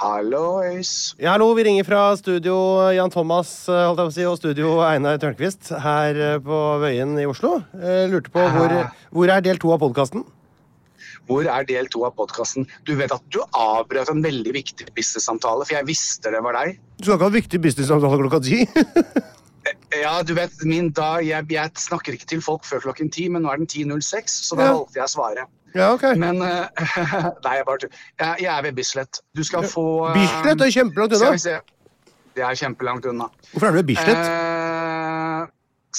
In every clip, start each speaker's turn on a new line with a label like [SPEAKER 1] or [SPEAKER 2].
[SPEAKER 1] Hallois!
[SPEAKER 2] Ja, hallo, vi ringer fra studio Jan Thomas eh, holdt jeg på å si, og studio Einar Tørnquist her eh, på Vøyen i Oslo. Eh, Lurte på hvor, hvor er del to av podkasten?
[SPEAKER 1] Hvor er del to av podkasten? Du vet at du avbrøt en veldig viktig business-samtale, for jeg visste det var deg.
[SPEAKER 2] Du skal ikke ha viktig businessavtale klokka ti.
[SPEAKER 1] Ja, du vet, min dag, jeg, jeg snakker ikke til folk før klokken ti, men nå er den 10.06, så da
[SPEAKER 2] Ja.
[SPEAKER 1] valgte jeg å svare.
[SPEAKER 2] ja, ok.
[SPEAKER 1] Men eh, Nei, jeg bare tuller. Jeg, jeg er ved Bislett. Du skal få eh,
[SPEAKER 2] Bislett er kjempelangt
[SPEAKER 1] Skal vi
[SPEAKER 2] unna.
[SPEAKER 1] se. Det er kjempelangt unna.
[SPEAKER 2] Hvorfor er du ved Bislett?
[SPEAKER 1] Eh,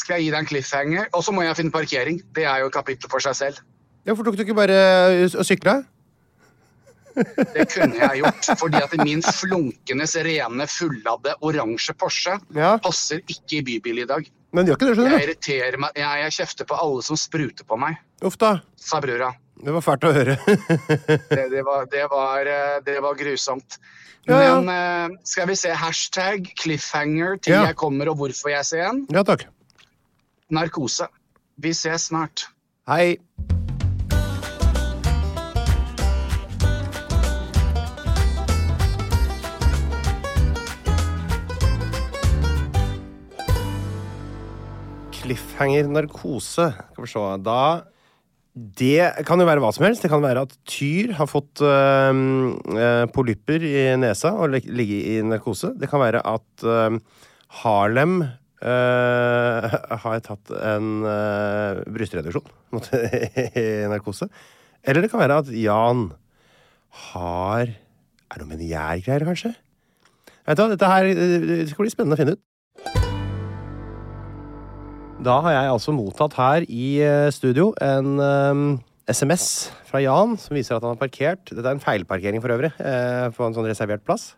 [SPEAKER 1] skal jeg gi deg en cliffhanger? Og så må jeg finne parkering. Det er jo et kapittel for seg selv.
[SPEAKER 2] Hvorfor tok du ikke bare eh, og sykla?
[SPEAKER 1] Det kunne jeg gjort, fordi at min flunkende, rene, fulladde oransje Porsche
[SPEAKER 2] Ja.
[SPEAKER 1] passer ikke i bybil i dag.
[SPEAKER 2] Men du gjør ikke det,
[SPEAKER 1] Jeg
[SPEAKER 2] skjønner du.
[SPEAKER 1] irriterer meg, jeg, jeg kjefter på alle som spruter på meg,
[SPEAKER 2] Uff da.
[SPEAKER 1] sa brura.
[SPEAKER 2] Det var fælt å høre.
[SPEAKER 1] Det, det, var, det, var, eh, det var grusomt.
[SPEAKER 2] Ja, ja.
[SPEAKER 1] Men eh, skal vi se hashtag cliffhanger til
[SPEAKER 2] Ja.
[SPEAKER 1] jeg kommer og hvorfor jeg ser en.
[SPEAKER 2] ja takk.
[SPEAKER 1] Narkose. Vi ses snart.
[SPEAKER 2] Hei. Cliffhanger narkose. Skal vi se. Da Det kan jo være hva som helst. Det kan være at Tyr har fått øhm, øh, polypper i nesa og lig- ligget i narkose. Det kan være at eh, øhm, Harlem øh, har tatt en øh, brystreduksjon måtte, i narkose. Eller det kan være at Jan har Er det noe meniærgreier, kanskje? Vet du hva, dette her øh, det skal bli spennende å finne ut. Da har jeg altså mottatt her i eh, studio en eh, SMS fra Jan som viser at han har parkert. Dette er en feilparkering for øvrig, eh, på en sånn reservert plass.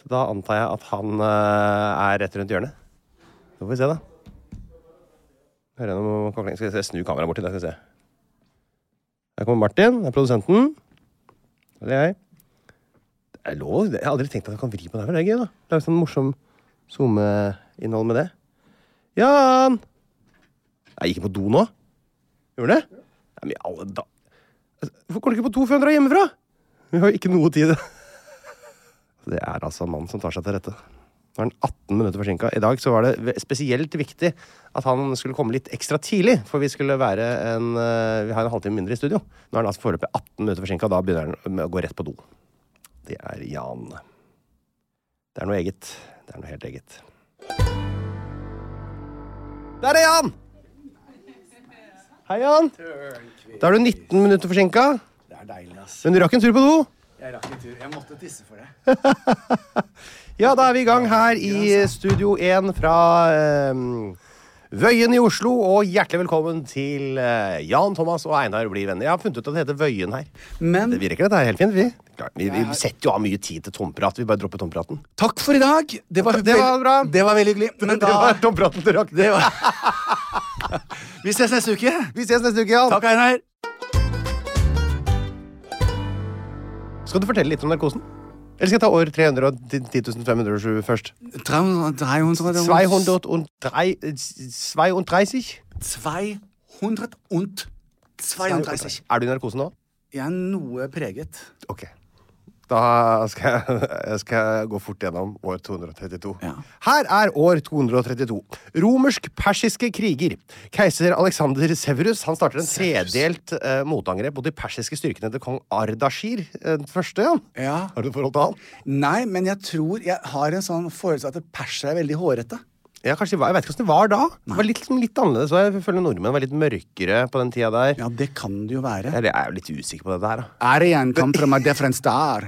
[SPEAKER 2] Så da antar jeg at han eh, er rett rundt hjørnet. Så får vi se, da. Hører jeg noe kakling? Skal jeg se- snu kameraet bort til deg, skal vi se. Der kommer Martin, det er produsenten. Og det er jeg. Det er lov. Jeg har aldri tenkt at jeg kan vri på den her, men det er gøy, da. Det er jo sånn morsom SoMe-innhold med det. Jan! Jeg gikk på do nå. Gjorde du det? Nei, men i alle da... Altså, Hvorfor går du ikke på do før han drar hjemmefra? Vi har jo ikke noe tid. Det er altså en mann som tar seg til rette. Nå er han 18 minutter forsinka. I dag så var det ve- spesielt viktig at han skulle komme litt ekstra tidlig, for vi skulle være en eh, Vi har en halvtime mindre i studio. Nå er han altså foreløpig 18 minutter forsinka, da begynner han med å gå rett på do. Det er Jan. Det er noe eget. Det er noe helt eget. Der er Jan! Hei, Jan. Da er du 19 minutter forsinka.
[SPEAKER 3] Det er deilig, ass.
[SPEAKER 2] Men du rakk en tur på do.
[SPEAKER 3] Jeg rakk en tur. Jeg måtte tisse for det.
[SPEAKER 2] Ja, da er vi i gang her i Studio 1 fra eh, Vøyen i Oslo, og hjertelig velkommen til eh, Jan Thomas og Einar blir venner. Jeg har funnet ut at det heter Vøyen her.
[SPEAKER 3] Men
[SPEAKER 2] Det virker dette her helt fint. Vi, Klart, vi, vi setter jo av mye tid til tomprat. Vi bare dropper tompraten.
[SPEAKER 3] takk for i dag! Det var,
[SPEAKER 2] Det var
[SPEAKER 3] veld-
[SPEAKER 2] bra.
[SPEAKER 3] Det var veldig hyggelig. Men
[SPEAKER 2] Det
[SPEAKER 3] da
[SPEAKER 2] var tompraten du rakk.
[SPEAKER 3] det var... Vi ses neste uke.
[SPEAKER 2] Vi ses neste uke, Jan.
[SPEAKER 3] Takk, Einar.
[SPEAKER 2] Skal du fortelle litt om narkosen? Eller skal jeg ta år 310.507 først?
[SPEAKER 3] 200
[SPEAKER 2] 232
[SPEAKER 3] und 32.
[SPEAKER 2] Er du i narkosen nå?
[SPEAKER 3] Jeg er noe preget.
[SPEAKER 2] Ok. Da skal jeg, jeg skal gå fort gjennom år 232.
[SPEAKER 3] Ja.
[SPEAKER 2] Her er år 232. Romersk-persiske kriger. Keiser Alexander Severus han starter en tredelt eh, motangrep mot de persiske styrkene til kong Ardashir eh, den første. Jan.
[SPEAKER 3] Ja.
[SPEAKER 2] Har du et forhold til han?
[SPEAKER 3] Nei, men jeg tror jeg har en sånn følelse av at persere er veldig hårete.
[SPEAKER 2] Ja, kanskje de var, Jeg vet ikke hvordan det var da. Det var litt, liksom, litt annerledes. og Jeg føler nordmenn var litt mørkere på den tida der.
[SPEAKER 3] Ja, det kan det jo være.
[SPEAKER 2] Jeg er jo litt usikker på det der, da.
[SPEAKER 3] Arian come from a different star.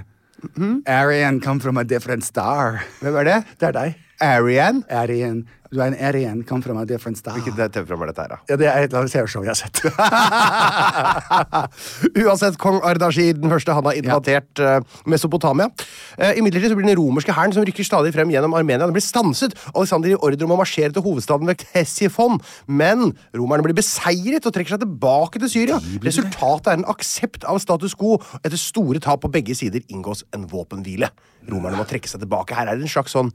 [SPEAKER 3] Arian come from a different star.
[SPEAKER 2] Hvem er det?
[SPEAKER 3] Det er deg.
[SPEAKER 2] Arian?
[SPEAKER 3] Arian. Du er en Arian come from a different star.
[SPEAKER 2] Hvilket TV-program er dette her, da?
[SPEAKER 3] Ja, det er et eller annet TV-show jeg har sett.
[SPEAKER 2] Uansett, kong Ardashir den første han har invadert eh, Mesopotamia. Uh, Imidlertid så blir den romerske hæren som rykker stadig frem gjennom Armenia, den blir stanset. Alexander gir ordre om å marsjere til hovedstaden Vektesifon, men romerne blir beseiret og trekker seg tilbake til Syria. Resultatet er en aksept av status quo. Etter store tap på begge sider inngås en våpenhvile. Romerne må trekke seg tilbake. Her er det en slags sånn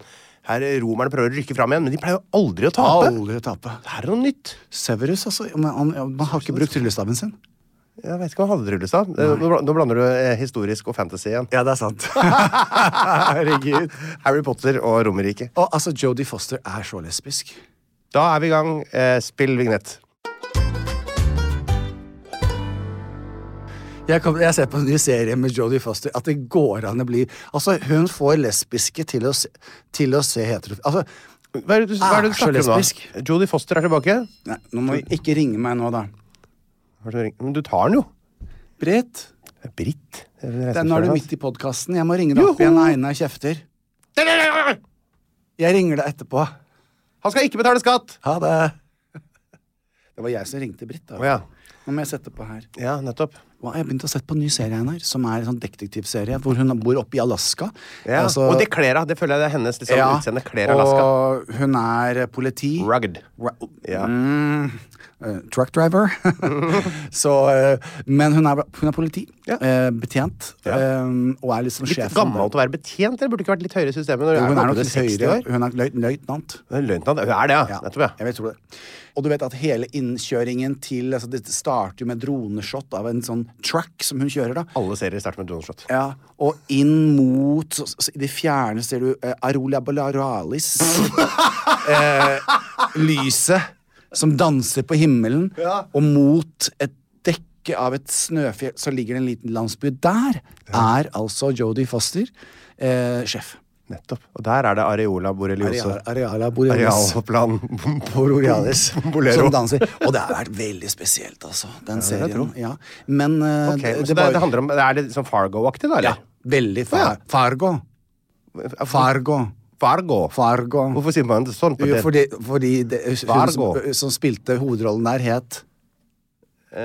[SPEAKER 2] her eh, Romerne prøver å rykke fram igjen, men de pleier jo aldri å tape.
[SPEAKER 3] Aldri tape.
[SPEAKER 2] Det her er noe nytt.
[SPEAKER 3] Severus, altså. Men han, ja, man har ikke brukt tryllestaven sin.
[SPEAKER 2] Jeg vet ikke om han hadde tryllestav. Eh, Nå, bla- nå blander du eh, historisk og fantasy igjen.
[SPEAKER 3] Ja, det er sant. Herregud.
[SPEAKER 2] Harry Potter og Romerriket.
[SPEAKER 3] Og altså, Jodie Foster er så lesbisk.
[SPEAKER 2] Da er vi i gang. Eh, spill vignett.
[SPEAKER 3] Jeg, kom, jeg ser på en ny serie med Jodie Foster at det går an å bli Altså, hun får lesbiske til å se, til å se hetero... Altså,
[SPEAKER 2] Hva er det du, hva er det du
[SPEAKER 3] Ah, så
[SPEAKER 2] snakker om
[SPEAKER 3] lesbisk.
[SPEAKER 2] nå? Jodie Foster er tilbake.
[SPEAKER 3] nei, nå må vi ikke ringe meg nå, da.
[SPEAKER 2] Hva er det som ringer? Men du tar den jo.
[SPEAKER 3] Britt,
[SPEAKER 2] Det er Britt. Det er
[SPEAKER 3] det er- nå er du
[SPEAKER 2] reisefaren
[SPEAKER 3] midt i podkasten. Jeg må ringe deg opp igjen når Einar kjefter.
[SPEAKER 2] hans.
[SPEAKER 3] Jeg ringer deg etterpå.
[SPEAKER 2] Han skal ikke betale skatt!
[SPEAKER 3] Ha det. Det var jeg som ringte Britt, da.
[SPEAKER 2] Å ja.
[SPEAKER 3] Nå må jeg sette på her.
[SPEAKER 2] ja, nettopp.
[SPEAKER 3] Hva, jeg har begynt å sette på en ny serie, Einar, som er en sånn detektivserie hvor hun bor oppe i Alaska.
[SPEAKER 2] Ja.
[SPEAKER 3] Altså-
[SPEAKER 2] og det kler henne. Det føler jeg det er hennes liksom,
[SPEAKER 3] Ja,
[SPEAKER 2] utseende. Kler Alaska.
[SPEAKER 3] Og hun er politi.
[SPEAKER 2] Rugged.
[SPEAKER 3] Ra
[SPEAKER 2] Ja.
[SPEAKER 3] mm, eh, truck driver. så, eh, men hun er, hun er politi.
[SPEAKER 2] Ja.
[SPEAKER 3] eh, betjent. eh, og er liksom
[SPEAKER 2] Litt
[SPEAKER 3] sjefen.
[SPEAKER 2] gammel til å være betjent, eller burde ikke vært litt høyere i systemet? Når
[SPEAKER 3] Jo,
[SPEAKER 2] hun
[SPEAKER 3] Hun er nok
[SPEAKER 2] er
[SPEAKER 3] litt høyere. Hun er løy- løytnant.
[SPEAKER 2] Løytnant. Hun er det, ja.
[SPEAKER 3] Ja,
[SPEAKER 2] Nettopp, ja.
[SPEAKER 3] Jeg vil tro det. Og du vet at hele innkjøringen til altså Det starter jo med droneshot av en sånn truck som hun kjører, da.
[SPEAKER 2] Alle serier starter med Donald Slott.
[SPEAKER 3] Ja, og inn mot så, så, I det fjerne ser du eh, Arolia Balaralis. eh, lyset som danser på himmelen.
[SPEAKER 2] Ja.
[SPEAKER 3] Og mot et dekke av et snøfjell så ligger det en liten landsby. Der er altså Jodie Foster eh, sjef.
[SPEAKER 2] Nettopp. Og der er det Areola Borrelioso.
[SPEAKER 3] Areal- Areala Borealis.
[SPEAKER 2] Arealplan.
[SPEAKER 3] Borealis
[SPEAKER 2] Bolero.
[SPEAKER 3] som danser. Og det har vært veldig spesielt, altså, den
[SPEAKER 2] vil jeg
[SPEAKER 3] serien. Ja. Men eh,
[SPEAKER 2] Ok, men
[SPEAKER 3] det,
[SPEAKER 2] så
[SPEAKER 3] det
[SPEAKER 2] det,
[SPEAKER 3] var
[SPEAKER 2] det handler om, Er det sånn Fargo-aktig, da?
[SPEAKER 3] ja,
[SPEAKER 2] eller?
[SPEAKER 3] Veldig far,
[SPEAKER 2] Ja.
[SPEAKER 3] Fargo. Fargo.
[SPEAKER 2] Fargo.
[SPEAKER 3] Fargo.
[SPEAKER 2] Hvorfor sier man det sånn? På
[SPEAKER 3] Jo,
[SPEAKER 2] det?
[SPEAKER 3] fordi fordi det, hun
[SPEAKER 2] Fargo.
[SPEAKER 3] som, som spilte hovedrollen der, het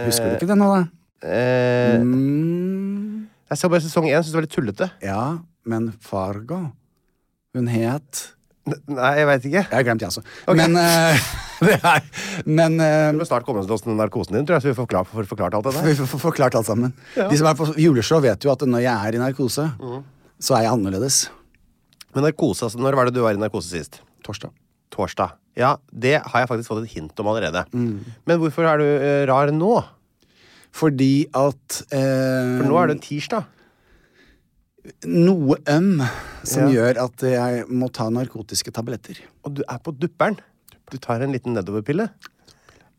[SPEAKER 3] Husker du ikke det nå, da?
[SPEAKER 2] Eh,
[SPEAKER 3] Mm,
[SPEAKER 2] jeg så bare sesong én, syntes det var litt tullete.
[SPEAKER 3] ja, men Fargo Hun het
[SPEAKER 2] N- Nei, jeg veit ikke.
[SPEAKER 3] Jeg har glemt, jeg også. Men eh, det er, Men eh,
[SPEAKER 2] Vi må snart komme oss til oss med narkosen din, tror jeg, så vi får forklart, får forklart alt det der.
[SPEAKER 3] vi får får forklart alt sammen. De som er på juleshow, vet jo at når jeg er i narkose,
[SPEAKER 2] Mm.
[SPEAKER 3] så er jeg annerledes.
[SPEAKER 2] Men narkose, altså, Når var det du var i narkose sist?
[SPEAKER 3] Torsdag.
[SPEAKER 2] Torsdag. Ja, det har jeg faktisk fått et hint om allerede. Men hvorfor er du eh, rar nå?
[SPEAKER 3] Fordi at eh,
[SPEAKER 2] For nå er det tirsdag.
[SPEAKER 3] noe øm som
[SPEAKER 2] Ja.
[SPEAKER 3] gjør at jeg må ta narkotiske tabletter.
[SPEAKER 2] Og du er på dupperen. Du tar en liten nedoverpille.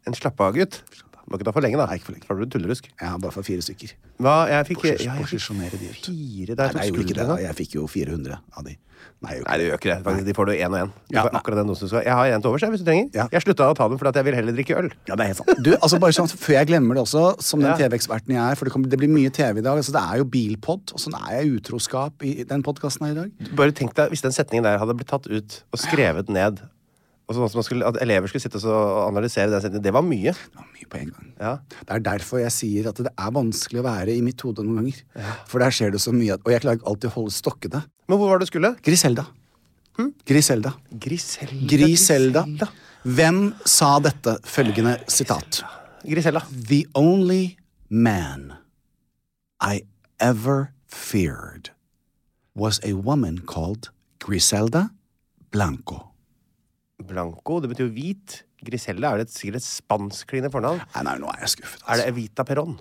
[SPEAKER 2] En slapp av, gutt. Må ikke ta for lenge, da.
[SPEAKER 3] Nei, ikke for lenge.
[SPEAKER 2] Da blir du tullerusk.
[SPEAKER 3] Jeg har bare fått fire stykker.
[SPEAKER 2] Hva? Jeg fikk,
[SPEAKER 3] Posisj-
[SPEAKER 2] ja, jeg fikk
[SPEAKER 3] posisjonere de ut.
[SPEAKER 2] fire der.
[SPEAKER 3] Nei, jeg gjorde ikke det. da.
[SPEAKER 2] Jeg...
[SPEAKER 3] Jeg fikk jo 400 av de. Nei, jeg gjorde
[SPEAKER 2] Nei, det gjør ikke det. Faktisk, de får du én og én.
[SPEAKER 3] Ja, nei.
[SPEAKER 2] akkurat den dosen du skal. Jeg har en til overs, jeg, hvis du trenger.
[SPEAKER 3] Ja.
[SPEAKER 2] Jeg slutta å ta den fordi at jeg vil heller drikke øl.
[SPEAKER 3] Ja, det er helt sant. Du, altså bare sånn, Før jeg glemmer det også, som
[SPEAKER 2] Ja.
[SPEAKER 3] den TV-eksperten jeg er For det, kommer, det blir mye TV i dag. altså Det er jo bilpod, og sånn er jeg utroskap i den podkasten her i dag.
[SPEAKER 2] Bare tenk deg hvis den setningen der hadde blitt tatt ut og skrevet ned Og sånn at, man skulle, at elever skulle sitte og så analysere den setningen. Det var mye.
[SPEAKER 3] Det var mye på en gang.
[SPEAKER 2] Ja.
[SPEAKER 3] Det er derfor jeg sier at det er vanskelig å være i mitt hode noen ganger. For der skjer det så mye, at- og jeg klarer ikke alltid å holde stokkene.
[SPEAKER 2] Men hvor var det du skulle?
[SPEAKER 3] Griselda.
[SPEAKER 2] Hm?
[SPEAKER 3] Griselda.
[SPEAKER 2] Griselda.
[SPEAKER 3] Griselda. Hvem sa dette følgende sitat?
[SPEAKER 2] Griselda.
[SPEAKER 3] The only man I ever feared was a woman called Griselda Blanco.
[SPEAKER 2] Blanco, det betyr jo hvit. Griselda er vel et, sikkert et spanskklingende fornavn.
[SPEAKER 3] Nei, nei, nå er jeg
[SPEAKER 2] Er
[SPEAKER 3] skuffet.
[SPEAKER 2] det
[SPEAKER 3] Altså.
[SPEAKER 2] Evita Perón?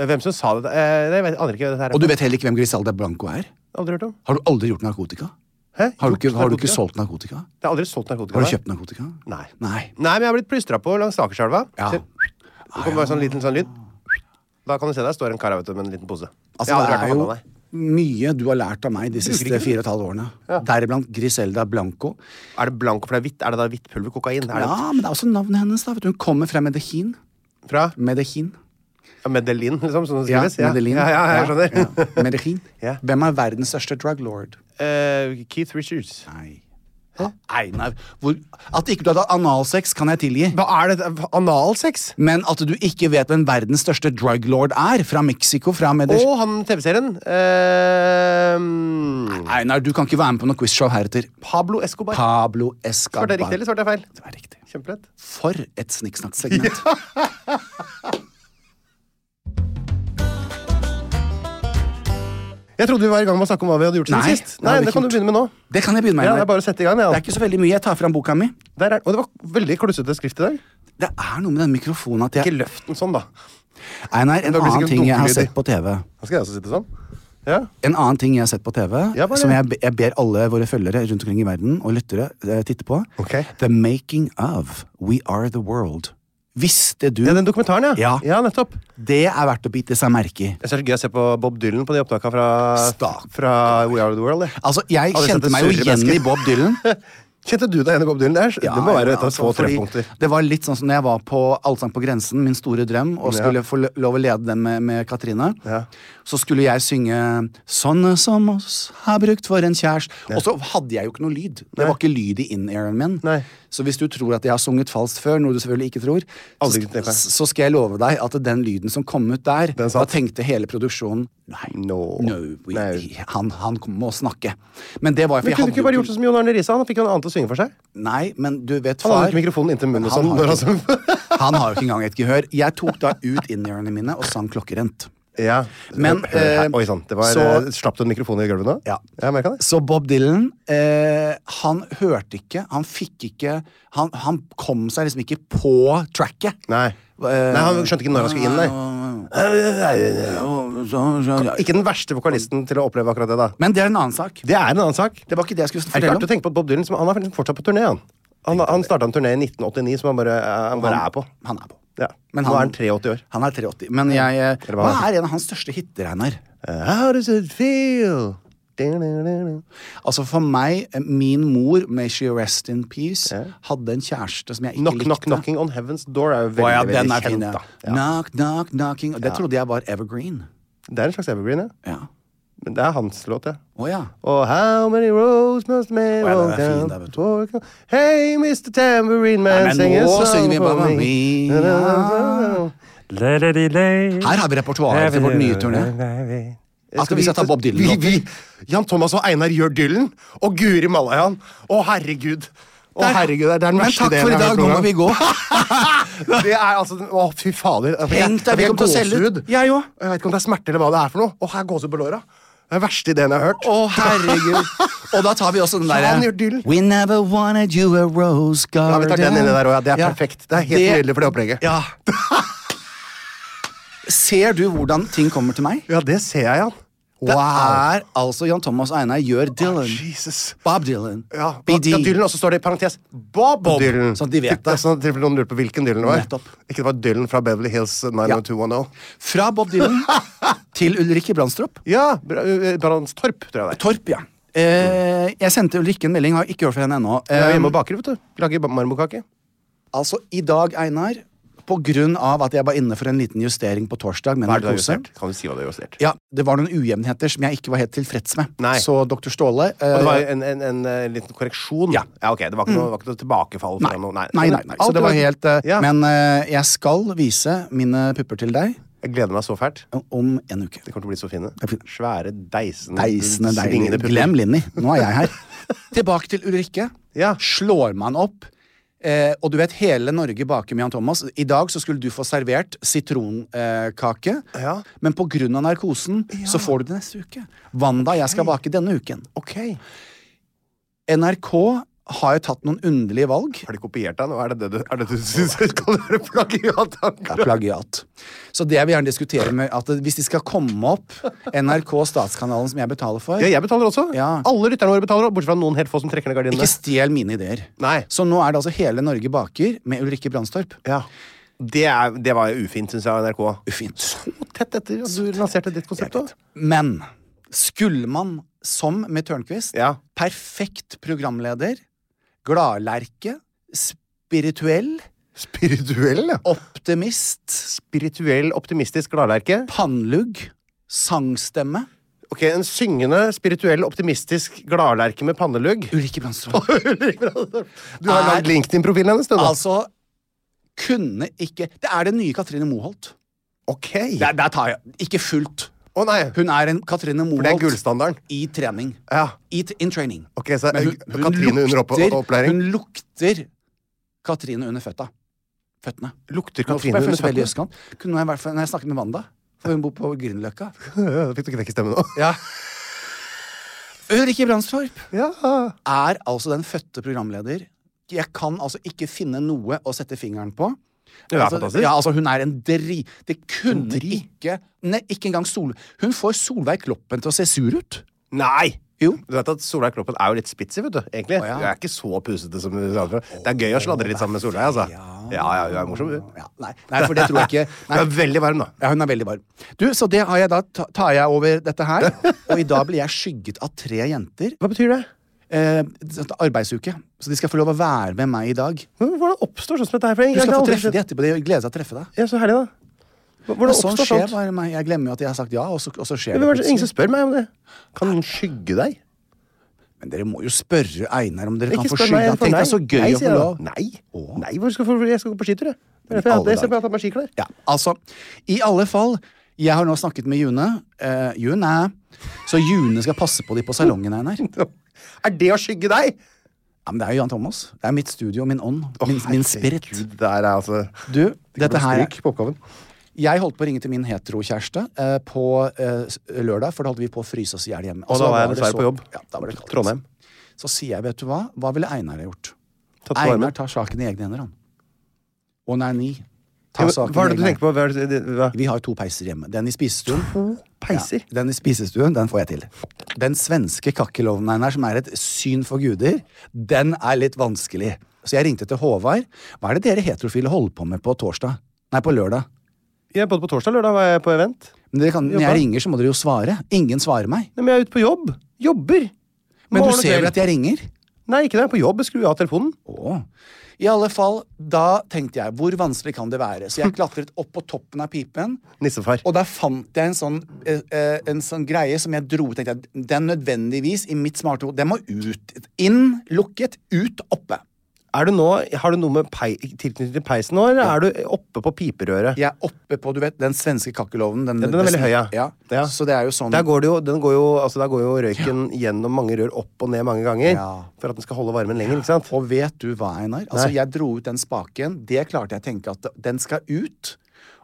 [SPEAKER 2] Eh, Hvem som sa det? Eh, nei, jeg vet, aner ikke hvem dette her. er.
[SPEAKER 3] Og du vet heller ikke hvem Griselda Blanco er?
[SPEAKER 2] Aldri hørt om?
[SPEAKER 3] Har du aldri gjort narkotika?
[SPEAKER 2] Hæ?
[SPEAKER 3] Har du ikke,
[SPEAKER 2] Gjort
[SPEAKER 3] har du ikke
[SPEAKER 2] narkotika?
[SPEAKER 3] solgt narkotika?
[SPEAKER 2] Jeg har aldri solgt narkotika.
[SPEAKER 3] Har du
[SPEAKER 2] nei.
[SPEAKER 3] kjøpt narkotika?
[SPEAKER 2] Nei.
[SPEAKER 3] Nei.
[SPEAKER 2] Nei, men jeg har blitt plystra på langs Akerselva.
[SPEAKER 3] Ja.
[SPEAKER 2] Se, Det kommer bare sånn liten sånn lyd. Da kan du se der står en kar vet du, med en liten pose.
[SPEAKER 3] Altså,
[SPEAKER 2] Jeg har aldri
[SPEAKER 3] det
[SPEAKER 2] vært
[SPEAKER 3] er
[SPEAKER 2] på
[SPEAKER 3] jo
[SPEAKER 2] Havanna, nei.
[SPEAKER 3] mye du har lært av meg de
[SPEAKER 2] Bruker
[SPEAKER 3] siste
[SPEAKER 2] ikke.
[SPEAKER 3] fire og et halvt årene. Deriblant Griselda Blanco.
[SPEAKER 2] Er det blanco for det er hvitt? Er det da hvitt pulver? Kokain? Er
[SPEAKER 3] Ja, men det er også navnet hennes. da, vet du. Hun kommer fra Medellin.
[SPEAKER 2] det fra
[SPEAKER 3] Medellin.
[SPEAKER 2] ja, Medellin, liksom? Sånn det
[SPEAKER 3] Ja,
[SPEAKER 2] skrives? Ja,
[SPEAKER 3] Medellin.
[SPEAKER 2] ja, ja, jeg skjønner.
[SPEAKER 3] Ja. Medellin.
[SPEAKER 2] Ja.
[SPEAKER 3] Hvem er verdens største drug lord?
[SPEAKER 2] Eh, Keith Richards.
[SPEAKER 3] Nei. Einar. Hvor, at ikke du hadde hatt analsex, kan jeg tilgi.
[SPEAKER 2] Hva er det? Analsex?
[SPEAKER 3] Men at du ikke vet hvem verdens største drug lord er, fra Mexico, fra
[SPEAKER 2] Og
[SPEAKER 3] Medellin
[SPEAKER 2] han TV-serien. Eh,
[SPEAKER 3] Einar, du kan ikke være med på noe quizshow heretter.
[SPEAKER 2] Pablo Escobar.
[SPEAKER 3] Pablo
[SPEAKER 2] Svarte
[SPEAKER 3] Escabar.
[SPEAKER 2] jeg riktig, liksom? eller svarte jeg feil?
[SPEAKER 3] Det var riktig.
[SPEAKER 2] Kjempelett.
[SPEAKER 3] For et snikksnakksegment.
[SPEAKER 2] Jeg trodde vi var i gang med å snakke om hva vi hadde gjort siden
[SPEAKER 3] Nei,
[SPEAKER 2] sist.
[SPEAKER 3] det
[SPEAKER 2] Nei,
[SPEAKER 3] har vi
[SPEAKER 2] det
[SPEAKER 3] ikke
[SPEAKER 2] kan du
[SPEAKER 3] gjort.
[SPEAKER 2] begynne med nå.
[SPEAKER 3] Det kan jeg begynne med.
[SPEAKER 2] Ja,
[SPEAKER 3] Einar.
[SPEAKER 2] det er bare å sette i gang, ja.
[SPEAKER 3] Det er ikke så veldig mye. Jeg tar fram boka mi.
[SPEAKER 2] Der er, og det var veldig klussete skrift i dag.
[SPEAKER 3] Det er noe med den mikrofonen at
[SPEAKER 2] Ikke
[SPEAKER 3] jeg
[SPEAKER 2] løft den sånn, da.
[SPEAKER 3] Einar, en
[SPEAKER 2] Da blir det
[SPEAKER 3] annen
[SPEAKER 2] sikkert
[SPEAKER 3] ting jeg har
[SPEAKER 2] dunkelyd i.
[SPEAKER 3] sett på TV.
[SPEAKER 2] Da skal jeg også sitte sånn. Ja.
[SPEAKER 3] En annen ting jeg har sett på TV,
[SPEAKER 2] Ja, hva er det?
[SPEAKER 3] som jeg, be- jeg ber alle våre følgere rundt omkring i verden og lyttere eh, titte på.
[SPEAKER 2] Ok.
[SPEAKER 3] The Making of We Are The World. Visste du
[SPEAKER 2] ja, den dokumentaren, ja.
[SPEAKER 3] Ja.
[SPEAKER 2] nettopp.
[SPEAKER 3] Det er verdt å bite seg merke i.
[SPEAKER 2] Jeg synes det er så gøy å se på Bob Dylan på de opptakene fra,
[SPEAKER 3] Stakkars.
[SPEAKER 2] fra We Are The World. jeg.
[SPEAKER 3] Altså, Jeg
[SPEAKER 2] Aldri sett
[SPEAKER 3] kjente
[SPEAKER 2] et
[SPEAKER 3] meg jo
[SPEAKER 2] surre
[SPEAKER 3] igjen
[SPEAKER 2] menneske.
[SPEAKER 3] i Bob Dylan.
[SPEAKER 2] Kjente du deg igjen i Bob Dylan? Det, er,
[SPEAKER 3] Ja,
[SPEAKER 2] det må være
[SPEAKER 3] ja,
[SPEAKER 2] et av
[SPEAKER 3] altså,
[SPEAKER 2] få
[SPEAKER 3] fordi
[SPEAKER 2] treffpunkter.
[SPEAKER 3] Det var litt sånn som når jeg var på Allsang på grensen, min store drøm, og
[SPEAKER 2] Ja.
[SPEAKER 3] skulle få lo- lov å lede den med, med Katrine.
[SPEAKER 2] Ja.
[SPEAKER 3] Så skulle jeg synge 'Sånne som oss har brukt for en kjærst'. Og så hadde jeg jo ikke noe lyd. Det var ikke lyd i in-airen min.
[SPEAKER 2] Nei.
[SPEAKER 3] Så hvis du tror at jeg har sunget falskt før, noe du selvfølgelig ikke tror,
[SPEAKER 2] Aldri
[SPEAKER 3] så,
[SPEAKER 2] tenkt meg.
[SPEAKER 3] så skal jeg love deg at den lyden som kom ut der,
[SPEAKER 2] Den
[SPEAKER 3] da
[SPEAKER 2] satt.
[SPEAKER 3] tenkte hele produksjonen Nei,
[SPEAKER 2] No.
[SPEAKER 3] we,
[SPEAKER 2] Nei.
[SPEAKER 3] Han, han må snakke. Men det var
[SPEAKER 2] Men
[SPEAKER 3] fordi
[SPEAKER 2] kunne du ikke bare gjort det som Jon Arne Riise? Han fikk jo en annen til å synge for seg.
[SPEAKER 3] Nei, men du vet
[SPEAKER 2] Han hadde
[SPEAKER 3] far
[SPEAKER 2] ikke mikrofonen inntil munnen sånn.
[SPEAKER 3] har
[SPEAKER 2] Når han
[SPEAKER 3] ikke-
[SPEAKER 2] sang.
[SPEAKER 3] han har jo ikke engang et gehør. Jeg tok da ut in-earene mine og sang klokkerent.
[SPEAKER 2] Ja.
[SPEAKER 3] Men,
[SPEAKER 2] Hør her.
[SPEAKER 3] eh,
[SPEAKER 2] Oi sann, det var
[SPEAKER 3] så-
[SPEAKER 2] eh, Slapp du en mikrofon i gulvet nå?
[SPEAKER 3] Ja.
[SPEAKER 2] Jeg merka det.
[SPEAKER 3] Så Bob Dylan, eh, han hørte ikke, han fikk ikke Han, han kom seg liksom ikke på tracket.
[SPEAKER 2] Nei.
[SPEAKER 3] Eh,
[SPEAKER 2] nei, han skjønte ikke når han skulle inn, nei. Ikke den verste vokalisten til å oppleve akkurat det, da.
[SPEAKER 3] Men det er en annen sak.
[SPEAKER 2] Det er en annen sak.
[SPEAKER 3] Det var ikke det jeg skulle
[SPEAKER 2] Det er
[SPEAKER 3] fortelle
[SPEAKER 2] klart å
[SPEAKER 3] om.
[SPEAKER 2] tenke på at Bob Dylan som, Han er faktisk fortsatt på turné. Han, han, han starta en turné i 1989 som han bare, eh, han bare er på.
[SPEAKER 3] Han er på.
[SPEAKER 2] Ja.
[SPEAKER 3] Men
[SPEAKER 2] Nå
[SPEAKER 3] han-
[SPEAKER 2] er han 83 år.
[SPEAKER 3] Han er 83. Men jeg eh,
[SPEAKER 2] Eller hva
[SPEAKER 3] Hva
[SPEAKER 2] han
[SPEAKER 3] er en av hans største hiter, Einar?
[SPEAKER 2] How does it feel? Du-du-du-du.
[SPEAKER 3] Altså For meg, eh, min mor, may she rest in peace, hadde en kjæreste som jeg ikke
[SPEAKER 2] Knock,
[SPEAKER 3] likte.
[SPEAKER 2] knock, knocking on heaven's door er jo veldig,
[SPEAKER 3] Å ja, den
[SPEAKER 2] veldig
[SPEAKER 3] er fin,
[SPEAKER 2] kjent.
[SPEAKER 3] ja.
[SPEAKER 2] Da. Ja.
[SPEAKER 3] Knock, knock, knocking. Og Det trodde jeg var evergreen.
[SPEAKER 2] Det er en slags evergreen, ja.
[SPEAKER 3] Ja.
[SPEAKER 2] Men det er hans låt, ja.
[SPEAKER 3] Å ja.
[SPEAKER 2] Og how many roads must man
[SPEAKER 3] Å, ja, den
[SPEAKER 2] walk
[SPEAKER 3] er fin,
[SPEAKER 2] down
[SPEAKER 3] da, vet du.
[SPEAKER 2] before it comes- Hey, Mr. Tambourine Man,
[SPEAKER 3] Nei, men
[SPEAKER 2] sing a
[SPEAKER 3] nå
[SPEAKER 2] song
[SPEAKER 3] synger vi
[SPEAKER 2] for
[SPEAKER 3] Mamma
[SPEAKER 2] me.
[SPEAKER 3] Mia. Her har vi repertoaret til vårt nye turné. Atle, vi skal ta Bob Dylan
[SPEAKER 2] Vi,
[SPEAKER 3] nå.
[SPEAKER 2] vi, Jan Thomas og Einar gjør Dylan, og Guri Malayan. Å, herregud. Å,
[SPEAKER 3] Der.
[SPEAKER 2] herregud, det er den
[SPEAKER 3] Men
[SPEAKER 2] verste
[SPEAKER 3] takk for i
[SPEAKER 2] delen jeg har
[SPEAKER 3] dag, nå må
[SPEAKER 2] hørt
[SPEAKER 3] vi
[SPEAKER 2] noen gang.
[SPEAKER 3] gå.
[SPEAKER 2] Det er altså den- Å, fy fader. Altså, Jeg-
[SPEAKER 3] Tenk deg, vi
[SPEAKER 2] jeg
[SPEAKER 3] kommer til å selge ut.
[SPEAKER 2] gåsehud.
[SPEAKER 3] Jeg òg.
[SPEAKER 2] Jeg vet ikke om det er smerte eller hva det er for noe. Å, her gåsehud på låra. Det er den verste ideen jeg har hørt.
[SPEAKER 3] Å, herregud. Og da tar vi også den
[SPEAKER 2] Ja, han gjør
[SPEAKER 3] derre
[SPEAKER 2] Dylan.
[SPEAKER 3] We never wanted you a rose
[SPEAKER 2] Ja,
[SPEAKER 3] garden.
[SPEAKER 2] vi tar den inni der også, ja. Det er perfekt. Det er helt nydelig for det opplegget.
[SPEAKER 3] Ja. Ser du hvordan ting kommer til meg?
[SPEAKER 2] Ja, det ser jeg, Jan.
[SPEAKER 3] Det er altså Jan Thomas Einar gjør Dylan.
[SPEAKER 2] Jesus.
[SPEAKER 3] Bob Dylan.
[SPEAKER 2] Ah, Ja,
[SPEAKER 3] BD.
[SPEAKER 2] ja, Dylan, og så står det i parentes Bob,
[SPEAKER 3] Bob,
[SPEAKER 2] Dylan.
[SPEAKER 3] sånn at de vet
[SPEAKER 2] Fikk-
[SPEAKER 3] det.
[SPEAKER 2] Sånn at noen lurer på hvilken Dylan det var.
[SPEAKER 3] Nettopp.
[SPEAKER 2] Ikke det var Dylan fra Beverly Hills 90210.
[SPEAKER 3] Fra Bob Dylan til Ulrikke Brandstrup.
[SPEAKER 2] Ja, Bra- eh, Brandstorp, tror jeg det er.
[SPEAKER 3] Torp, ja. Eh, jeg sendte Ulrikke en melding, har ikke hørt fra henne ennå.
[SPEAKER 2] Jeg er
[SPEAKER 3] Eh,
[SPEAKER 2] hjemme og baker, vet du. Lager marmorkake.
[SPEAKER 3] altså, i dag, Einar, på grunn av at jeg var inne for en liten justering på torsdag med
[SPEAKER 2] Hva er det du har
[SPEAKER 3] narkose.
[SPEAKER 2] justert? Kan du si hva du har justert?
[SPEAKER 3] Ja, det var noen ujevnheter som jeg ikke var helt tilfreds med.
[SPEAKER 2] Nei.
[SPEAKER 3] Så doktor Ståle eh,
[SPEAKER 2] Og det var en, en, en, eh, liten korreksjon?
[SPEAKER 3] Ja. Mm.
[SPEAKER 2] ok, Det var ikke noe, var ikke noe tilbakefall? fra
[SPEAKER 3] Nei,
[SPEAKER 2] noe-
[SPEAKER 3] nei, nei. nei, Så
[SPEAKER 2] Alt
[SPEAKER 3] det
[SPEAKER 2] i
[SPEAKER 3] var
[SPEAKER 2] orden.
[SPEAKER 3] helt eh,
[SPEAKER 2] ja.
[SPEAKER 3] Men eh, jeg skal vise mine pupper til deg
[SPEAKER 2] Jeg gleder meg så fælt.
[SPEAKER 3] om en uke.
[SPEAKER 2] De kommer til å bli så fine.
[SPEAKER 3] er fine.
[SPEAKER 2] Svære, deisende,
[SPEAKER 3] Deisende
[SPEAKER 2] svingende
[SPEAKER 3] deilig.
[SPEAKER 2] pupper.
[SPEAKER 3] Glem Linni, nå er jeg her. Tilbake til Ulrikke.
[SPEAKER 2] Ja.
[SPEAKER 3] Slår man opp eh, Og du vet, hele Norge baker med Jan Thomas. I dag så skulle du få servert sitronkake,
[SPEAKER 2] Ja.
[SPEAKER 3] men på grunn av narkosen så får du det neste uke. Wanda, jeg skal bake denne uken.
[SPEAKER 2] Ok. Har
[SPEAKER 3] NRK har jo tatt noen underlige valg.
[SPEAKER 2] de kopiert deg nå? Er det det du, er det du syns skal være plagiat?
[SPEAKER 3] Det er plagiat. Så det jeg vil gjerne diskutere med at hvis de skal komme opp NRK Statskanalen, som jeg betaler for
[SPEAKER 2] Ja, jeg betaler også.
[SPEAKER 3] Ja.
[SPEAKER 2] Alle lytterne våre betaler, bortsett fra noen helt få som trekker ned gardinene.
[SPEAKER 3] Ikke stjel mine ideer.
[SPEAKER 2] Nei.
[SPEAKER 3] Så nå er det altså Hele Norge baker med Ulrikke Brandstorp.
[SPEAKER 2] Ja. Det, er, det var ufint, syns jeg, av NRK.
[SPEAKER 3] Ufint.
[SPEAKER 2] Så tett etter at du lanserte ditt konsept òg.
[SPEAKER 3] Men skulle man, som med Tørnquist,
[SPEAKER 2] Ja.
[SPEAKER 3] perfekt programleder, gladlerke, spirituell,
[SPEAKER 2] Spirituell, ja.
[SPEAKER 3] optimist,
[SPEAKER 2] Spirituell, optimistisk gladlerke.
[SPEAKER 3] pannlugg, sangstemme
[SPEAKER 2] Ok, En syngende, spirituell, optimistisk gladlerke med pannelugg.
[SPEAKER 3] Ulrikke Brandstorp.
[SPEAKER 2] Du har
[SPEAKER 3] Er-
[SPEAKER 2] lagd LinkedIn-profilen hennes, du, da.
[SPEAKER 3] Altså kunne ikke Det er den nye Katrine Moholt.
[SPEAKER 2] ok.
[SPEAKER 3] Der, der tar jeg Ikke fullt.
[SPEAKER 2] Å nei.
[SPEAKER 3] Hun er en Katrine
[SPEAKER 2] For det er
[SPEAKER 3] Moholt
[SPEAKER 2] gullstandarden.
[SPEAKER 3] i trening.
[SPEAKER 2] Ja.
[SPEAKER 3] I, t- in training.
[SPEAKER 2] Ok, så
[SPEAKER 3] Men hun, hun,
[SPEAKER 2] Katrine under opp
[SPEAKER 3] lukter,
[SPEAKER 2] opplæring.
[SPEAKER 3] hun lukter Katrine under føtta. Føttene.
[SPEAKER 2] lukter
[SPEAKER 3] Nå
[SPEAKER 2] Katrine under
[SPEAKER 3] føler jeg veldig
[SPEAKER 2] føttene.
[SPEAKER 3] østkant. Kunne jeg, i hvert fall- når jeg snakket med Wanda, for hun bor på Grünerløkka
[SPEAKER 2] Fikk du ikke vekk stemmen nå?
[SPEAKER 3] ja. Ulrikke Brandstorp
[SPEAKER 2] Ja.
[SPEAKER 3] er altså den fødte programleder. Jeg kan altså ikke finne noe å sette fingeren på.
[SPEAKER 2] Det er
[SPEAKER 3] altså,
[SPEAKER 2] fantastisk.
[SPEAKER 3] Ja, altså Hun er en dri... Det kunne
[SPEAKER 2] dri?
[SPEAKER 3] ikke Nei, ikke engang Sol... Hun får Solveig Kloppen til å se sur ut.
[SPEAKER 2] Nei!
[SPEAKER 3] Jo.
[SPEAKER 2] Du vet at Solveig Kloppen er jo litt spitsig, vet du. egentlig.
[SPEAKER 3] Å, ja.
[SPEAKER 2] Hun er ikke så pusete som du sa. før. Det er gøy å sladre litt sammen med Solveig, altså. Ja, ja, hun er morsom, hun.
[SPEAKER 3] Ja, nei, nei, for det tror jeg ikke
[SPEAKER 2] Hun
[SPEAKER 3] nei.
[SPEAKER 2] er veldig varm, da.
[SPEAKER 3] Ja, hun er veldig varm. Du, Så det har jeg da, ta- tar jeg over dette her. Og i dag blir jeg skygget av tre jenter.
[SPEAKER 2] Hva betyr det?
[SPEAKER 3] Eh, sånn arbeidsuke. Så de skal få lov å være med meg i dag.
[SPEAKER 2] Hvordan oppstår sånn som dette her? for
[SPEAKER 3] Du
[SPEAKER 2] jeg-
[SPEAKER 3] skal
[SPEAKER 2] jeg har
[SPEAKER 3] få
[SPEAKER 2] aldri
[SPEAKER 3] treffe
[SPEAKER 2] sett-
[SPEAKER 3] de etterpå. De gleder seg til å treffe deg.
[SPEAKER 2] Ja, så herlig, da. Hva- Hvordan
[SPEAKER 3] Men sånn
[SPEAKER 2] oppstår
[SPEAKER 3] skjer
[SPEAKER 2] sånt?
[SPEAKER 3] bare meg. Jeg glemmer jo at jeg har sagt ja, og så, og så
[SPEAKER 2] Ja,
[SPEAKER 3] skjer
[SPEAKER 2] men
[SPEAKER 3] det
[SPEAKER 2] hva er det- Ingen som
[SPEAKER 3] plutselig.
[SPEAKER 2] spør meg om det. Kan noen skygge deg?
[SPEAKER 3] Men dere må jo spørre Einar om dere kan
[SPEAKER 2] Ikke
[SPEAKER 3] få
[SPEAKER 2] spør meg.
[SPEAKER 3] skylda.
[SPEAKER 2] jeg får
[SPEAKER 3] Tenk
[SPEAKER 2] nei.
[SPEAKER 3] deg så gøy
[SPEAKER 2] nei, sier
[SPEAKER 3] å få
[SPEAKER 2] jeg da.
[SPEAKER 3] lov.
[SPEAKER 2] Nei. nei hvor skal jeg få- jeg skal gå på skitur, jeg. Det er derfor jeg har
[SPEAKER 3] alle
[SPEAKER 2] det. Se på, jeg
[SPEAKER 3] dager.
[SPEAKER 2] har tatt meg skiklær.
[SPEAKER 3] Ja, altså, I alle fall, jeg har nå snakket med June. Eh, June. Så June skal passe på de på salongen, Einar.
[SPEAKER 2] Er det å skygge deg?
[SPEAKER 3] Ja, men det er jo Jan Thomas. Det er mitt studio, min ånd,
[SPEAKER 2] Å,
[SPEAKER 3] min, min
[SPEAKER 2] herregud,
[SPEAKER 3] spirit.
[SPEAKER 2] Det er altså
[SPEAKER 3] Du, dette her
[SPEAKER 2] Stryk på oppgaven.
[SPEAKER 3] Jeg holdt på å ringe til min heterokjæreste eh, på eh, s- lørdag, for da holdt vi på å fryse oss i hjel hjemme.
[SPEAKER 2] Og da
[SPEAKER 3] så
[SPEAKER 2] var jeg
[SPEAKER 3] det
[SPEAKER 2] dessverre
[SPEAKER 3] så-
[SPEAKER 2] på jobb.
[SPEAKER 3] Ja, da var det kaldt.
[SPEAKER 2] Trondheim.
[SPEAKER 3] Så sier jeg, vet du hva, hva ville Einar ha gjort?
[SPEAKER 2] Tatt på
[SPEAKER 3] Einar
[SPEAKER 2] armen.
[SPEAKER 3] tar saken i egne hender, han. Å nei, ni.
[SPEAKER 2] Ja,
[SPEAKER 3] Ta
[SPEAKER 2] men
[SPEAKER 3] saken
[SPEAKER 2] Hva er det
[SPEAKER 3] i
[SPEAKER 2] du
[SPEAKER 3] egne
[SPEAKER 2] tenker på? Hva er det, det- hva?
[SPEAKER 3] Vi har jo to peiser hjemme. Den i spisestuen.
[SPEAKER 2] Peiser?
[SPEAKER 3] Ja, den i spisestuen, den får jeg til. Den svenske kakkelovnen Einar, som er et syn for guder, den er litt vanskelig. Så jeg ringte til Håvard. Hva er det dere heterofile holder på med på torsdag? Nei, på lørdag.
[SPEAKER 2] Jeg er både på torsdag og lørdag var jeg på event.
[SPEAKER 3] Men dere kan, når
[SPEAKER 2] Jobba.
[SPEAKER 3] jeg ringer, så må dere jo svare. Ingen svarer meg.
[SPEAKER 2] Nei, men jeg er ute på jobb. Jobber.
[SPEAKER 3] Men
[SPEAKER 2] Morgen og
[SPEAKER 3] du ser
[SPEAKER 2] kveld.
[SPEAKER 3] vel at jeg ringer?
[SPEAKER 2] Nei, ikke det. Jeg er på jobb. Skru av telefonen.
[SPEAKER 3] Å. I alle fall, da tenkte jeg, hvor vanskelig kan det være? Så jeg klatret opp på toppen av pipen,
[SPEAKER 2] Nissefar.
[SPEAKER 3] og der fant jeg en sånn, eh, eh, en sånn greie som jeg dro tenkte jeg, Den nødvendigvis, i mitt smarte hode, den må ut. Inn, lukket, ut, oppe.
[SPEAKER 2] Er du nå, har du noe med pei, tilknytning til peisen nå, eller er du oppe på piperøret?
[SPEAKER 3] Jeg er oppe på, du vet, den svenske kakkelovnen. Den,
[SPEAKER 2] Ja, den er veldig høy, ja. Ja.
[SPEAKER 3] Så det er jo sånn
[SPEAKER 2] Der går det jo, den går jo, altså der går jo røyken gjennom mange rør opp og ned mange ganger.
[SPEAKER 3] Ja.
[SPEAKER 2] For at den skal holde varmen lenger. ikke sant?
[SPEAKER 3] Og vet du hva, Einar? Altså,
[SPEAKER 2] Nei.
[SPEAKER 3] jeg dro ut den spaken. Det klarte jeg å tenke at den skal ut.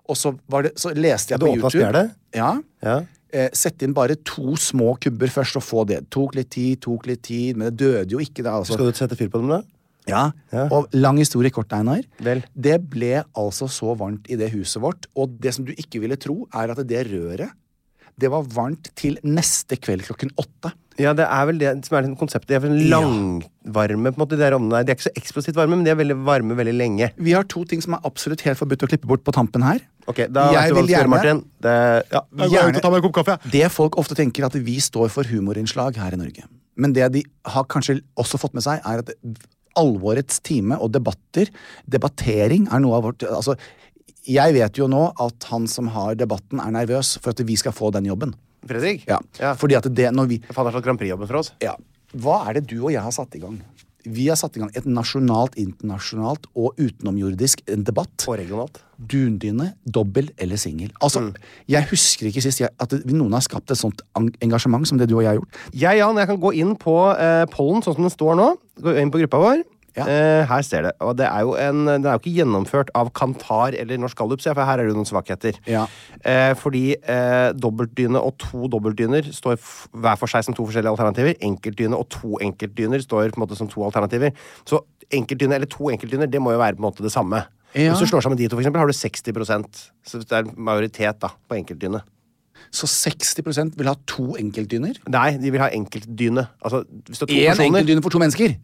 [SPEAKER 3] Og så, var det, så leste jeg
[SPEAKER 2] Du
[SPEAKER 3] på
[SPEAKER 2] åpna
[SPEAKER 3] YouTube.
[SPEAKER 2] spjælet?
[SPEAKER 3] Ja.
[SPEAKER 2] Ja.
[SPEAKER 3] Eh, sette inn bare to små kubber først og få det. Tok litt tid, tok litt tid, men det døde jo ikke, da. Altså.
[SPEAKER 2] Skal du sette fyr på dem, da?
[SPEAKER 3] Ja.
[SPEAKER 2] Ja.
[SPEAKER 3] Og lang historie kort, Einar.
[SPEAKER 2] Vel.
[SPEAKER 3] Det ble altså så varmt i det huset vårt, og det som du ikke ville tro, er at det røret det var varmt til neste kveld klokken åtte.
[SPEAKER 2] Ja, det er vel det som er litt konseptet. Det er vel en
[SPEAKER 3] Ja.
[SPEAKER 2] langvarme, på en måte, de der ovnene der. De er ikke så eksplosivt varme, men de er veldig varme veldig lenge.
[SPEAKER 3] Vi har to ting som er absolutt helt forbudt å klippe bort på tampen her.
[SPEAKER 2] Ok, da vet
[SPEAKER 3] Jeg
[SPEAKER 2] du hva du skal
[SPEAKER 3] vil
[SPEAKER 2] gjøre,
[SPEAKER 3] gjerne-
[SPEAKER 2] Martin. Det, ja,
[SPEAKER 3] Jeg går ut og tar
[SPEAKER 2] meg en kopp kaffe,
[SPEAKER 3] Det folk ofte tenker at vi står for humorinnslag her i Norge. Men det de har kanskje også fått med seg, er at alvorets time og debatter, debattering, er noe av vårt Altså, jeg vet jo nå at han som har debatten, er nervøs for at vi skal få den jobben.
[SPEAKER 2] Fredrik?
[SPEAKER 3] Ja.
[SPEAKER 2] Ja.
[SPEAKER 3] Fordi at det, når vi
[SPEAKER 2] Faen, har slått Grand Prix-jobben for oss.
[SPEAKER 3] ja. Hva er det du og jeg har satt i gang? Vi har satt i gang et nasjonalt, internasjonalt og utenomjordisk en debatt.
[SPEAKER 2] Og regionalt.
[SPEAKER 3] Dundyne, dobbel eller singel. Altså,
[SPEAKER 2] Mm.
[SPEAKER 3] jeg husker ikke sist jeg, at det- noen har skapt et sånt en- engasjement som det du og jeg har gjort.
[SPEAKER 2] Jeg, Jan, jeg kan gå inn på eh, pollen sånn som den står nå. Gå inn på gruppa vår.
[SPEAKER 3] Ja.
[SPEAKER 2] Eh, her ser det. Og det er jo en, den er jo ikke gjennomført av Kantar eller Norsk Gallup, ser jeg, for her er det jo noen svakheter.
[SPEAKER 3] Ja.
[SPEAKER 2] Eh, fordi eh, dobbeltdyne og to dobbeltdyner står f hver for seg som to forskjellige alternativer. Enkeltdyne og to enkeltdyner står på en måte som to alternativer. Så enkeltdyne eller to enkeltdyner, det må jo være på en måte det samme.
[SPEAKER 3] Ja.
[SPEAKER 2] Hvis du slår sammen de to, for eksempel, har du 60 Så det er majoritet da, på enkeltdyne.
[SPEAKER 3] Så 60 vil ha to enkeltdyner?
[SPEAKER 2] Nei, de vil ha enkeltdyne. Altså, hvis det er to
[SPEAKER 3] Én
[SPEAKER 2] personer
[SPEAKER 3] enkeltdyne for to mennesker?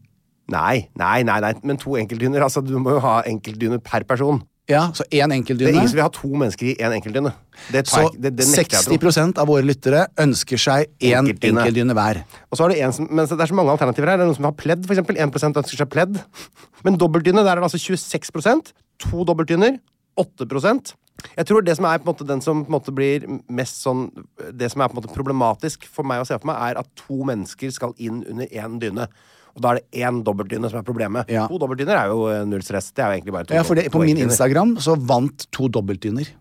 [SPEAKER 2] Nei, nei, nei, nei, men to enkeltdyner. Altså, du må jo ha enkeltdyner per person.
[SPEAKER 3] Ja, så
[SPEAKER 2] Det er
[SPEAKER 3] én
[SPEAKER 2] ingen som
[SPEAKER 3] enkeltdyne.
[SPEAKER 2] vil ha to mennesker i én enkeltdyne. Det tar
[SPEAKER 3] Så
[SPEAKER 2] jeg, ikke- det, det nekter jeg å tro.
[SPEAKER 3] 60 av våre lyttere ønsker seg én
[SPEAKER 2] Enkeltdyne.
[SPEAKER 3] enkeltdyne hver.
[SPEAKER 2] Og så er det en som, men så det er så mange alternativer her. Det er noen som har pledd, for eksempel. 1 ønsker seg pledd. Men dobbeltdyne, der er det altså 26 To dobbeltdyner. 8 jeg tror det som er på en måte den som på en måte blir mest sånn Det som er på en måte problematisk for meg å se for meg, er at to mennesker skal inn under én dyne. Og da er det én dobbeltdyne som er problemet.
[SPEAKER 3] Ja.
[SPEAKER 2] To dobbeltdyner er jo eh, null stress. Det er jo egentlig bare to,
[SPEAKER 3] Ja, for det,
[SPEAKER 2] to
[SPEAKER 3] på min
[SPEAKER 2] enkeltdyner.
[SPEAKER 3] Instagram så vant to dobbeltdyner.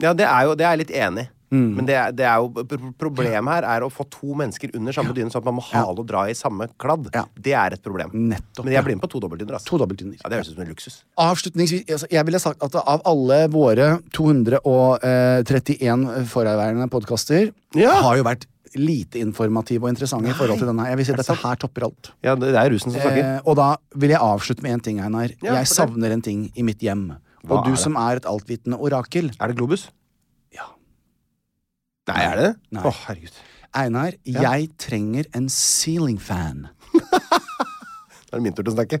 [SPEAKER 2] Ja, det er jo, det er jeg litt enig i.
[SPEAKER 3] Mm.
[SPEAKER 2] Men det, er- det er jo, pro- problemet her er å få to mennesker under samme dyne, sånn at man må hale og dra i samme kladd.
[SPEAKER 3] Ja.
[SPEAKER 2] Det er et problem.
[SPEAKER 3] Nettopp,
[SPEAKER 2] Men jeg
[SPEAKER 3] ja.
[SPEAKER 2] blir med på to dobbeltdyner. Altså.
[SPEAKER 3] To dobbeltdyner.
[SPEAKER 2] Ja, det høres ut som en luksus.
[SPEAKER 3] Avslutningsvis, altså, jeg ville sagt at av alle våre 231 eh, forarbeidende podkaster
[SPEAKER 2] Ja.
[SPEAKER 3] har jo vært lite informative og interessante i forhold til denne. her. Jeg vil si at Dette her topper alt.
[SPEAKER 2] Ja, det, det er rusen som snakker.
[SPEAKER 3] Eh, og da vil jeg avslutte med én ting, Einar.
[SPEAKER 2] Ja,
[SPEAKER 3] jeg
[SPEAKER 2] fortell.
[SPEAKER 3] savner en ting i mitt hjem.
[SPEAKER 2] Hva
[SPEAKER 3] og
[SPEAKER 2] er
[SPEAKER 3] du
[SPEAKER 2] det?
[SPEAKER 3] som er et altvitende orakel.
[SPEAKER 2] Er det Globus?
[SPEAKER 3] Ja.
[SPEAKER 2] Nei, er det det?
[SPEAKER 3] Nei.
[SPEAKER 2] Å, herregud.
[SPEAKER 3] Einar, jeg trenger en ceiling fan.
[SPEAKER 2] Da er det min tur til å snakke.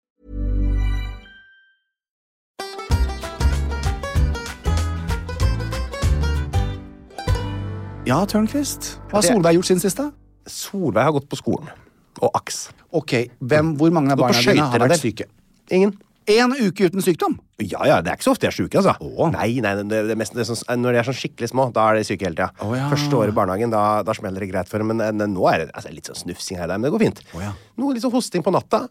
[SPEAKER 3] Ja, Tørnquist. Hva har
[SPEAKER 2] Det-
[SPEAKER 3] Solveig gjort siden sist, da?
[SPEAKER 2] Solveig har gått på skolen. Og Aks.
[SPEAKER 3] Ok, hvem, Hvor mange av
[SPEAKER 2] Gått på
[SPEAKER 3] barna dine har
[SPEAKER 2] skøyter,
[SPEAKER 3] vært
[SPEAKER 2] eller?
[SPEAKER 3] syke?
[SPEAKER 2] Ingen.
[SPEAKER 3] Én uke uten sykdom!
[SPEAKER 2] Ja, ja, det er ikke så ofte jeg er syk, altså. Nei, nei, det, det er mest, det er sånn, Når de er sånn skikkelig små, da er de syke hele tida.
[SPEAKER 3] Å, ja.
[SPEAKER 2] Første året i barnehagen, da, da smeller det greit for dem. Men eh, nå er det altså, litt sånn snufsing her og der, men det går fint.
[SPEAKER 3] ja.
[SPEAKER 2] Noe litt sånn hosting på natta.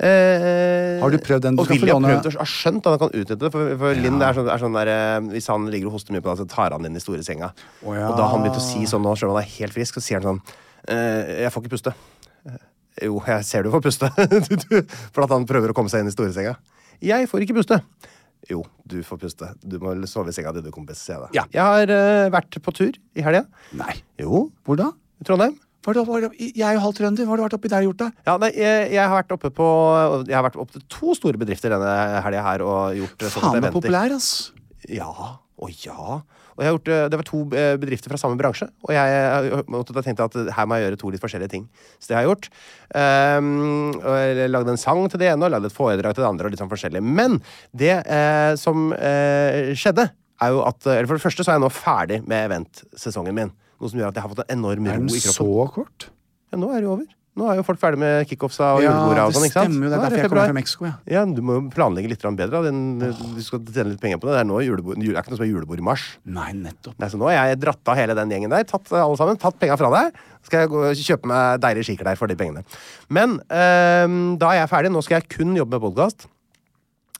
[SPEAKER 2] Eh,
[SPEAKER 3] Har du prøvd den? Du
[SPEAKER 2] Og
[SPEAKER 3] skal få
[SPEAKER 2] Willy har
[SPEAKER 3] låne-
[SPEAKER 2] prøvd og har skjønt at han kan utnytte det. For, for Linn er sånn, er sånn der eh, Hvis han ligger og hoster mye på deg, så tar han inn i store senga.
[SPEAKER 3] Å, ja.
[SPEAKER 2] Og da har han begynt å si sånn nå, selv om han er helt frisk, så sier han sånn eh, Jeg får ikke puste. Eh, Jo, jeg ser du får puste. Du- du- For at han prøver å komme seg inn i storesenga. Jeg får ikke puste. Jo, du får puste. Du må sove i senga di, du, kompis. sier Jeg, da.
[SPEAKER 3] Ja.
[SPEAKER 2] jeg har eh, vært på tur i helga.
[SPEAKER 3] Nei.
[SPEAKER 2] Jo.
[SPEAKER 3] Hvor da?
[SPEAKER 2] I Trondheim.
[SPEAKER 3] Hva har du, hva har du, jeg er jo halvt trønder. Hva har du vært oppi der og gjort, da?
[SPEAKER 2] Ja, nei, jeg, jeg har vært oppe på Jeg har vært opp til to store bedrifter denne helga her og gjort eh, sånne
[SPEAKER 3] Faen, du er
[SPEAKER 2] eventer.
[SPEAKER 3] populær, ass.
[SPEAKER 2] Ja. Å ja. Og jeg har gjort, eh, det var to eh, bedrifter fra samme bransje, og jeg, eh, måtte- da tenkte jeg at her må jeg gjøre to litt forskjellige ting. Så det har jeg gjort. Um, og jeg lagde en sang til det ene og lagde et foredrag til det andre. og litt sånn forskjellig. Men det eh, som eh, skjedde, er jo at eh, eller For det første så er jeg nå ferdig med eventsesongen min. Noe som gjør at jeg har fått en enorm
[SPEAKER 3] Er
[SPEAKER 2] ro
[SPEAKER 3] den
[SPEAKER 2] i kroppen.
[SPEAKER 3] så kort?
[SPEAKER 2] Ja, nå er det jo over. Nå er jo folk ferdig med kickoffsa og juleborda og
[SPEAKER 3] det
[SPEAKER 2] sånn. ikke sant?
[SPEAKER 3] stemmer jo. Det
[SPEAKER 2] Nå
[SPEAKER 3] er derfor
[SPEAKER 2] det
[SPEAKER 3] jeg kommer
[SPEAKER 2] februar.
[SPEAKER 3] fra Mexico, ja.
[SPEAKER 2] Ja, Du må jo planlegge litt grann bedre. da. Den, du skal tjene litt penger på det. Det er, nå julebord, det er ikke noe som er julebord i mars.
[SPEAKER 3] Nei, nettopp.
[SPEAKER 2] Nei, så nå har jeg dratt av hele den gjengen der, tatt eh, alle sammen, tatt penga fra deg. Så skal jeg gå og kjøpe meg deilige skiklær for de pengene. Men ehm, da er jeg ferdig. Nå skal jeg kun jobbe med podkast.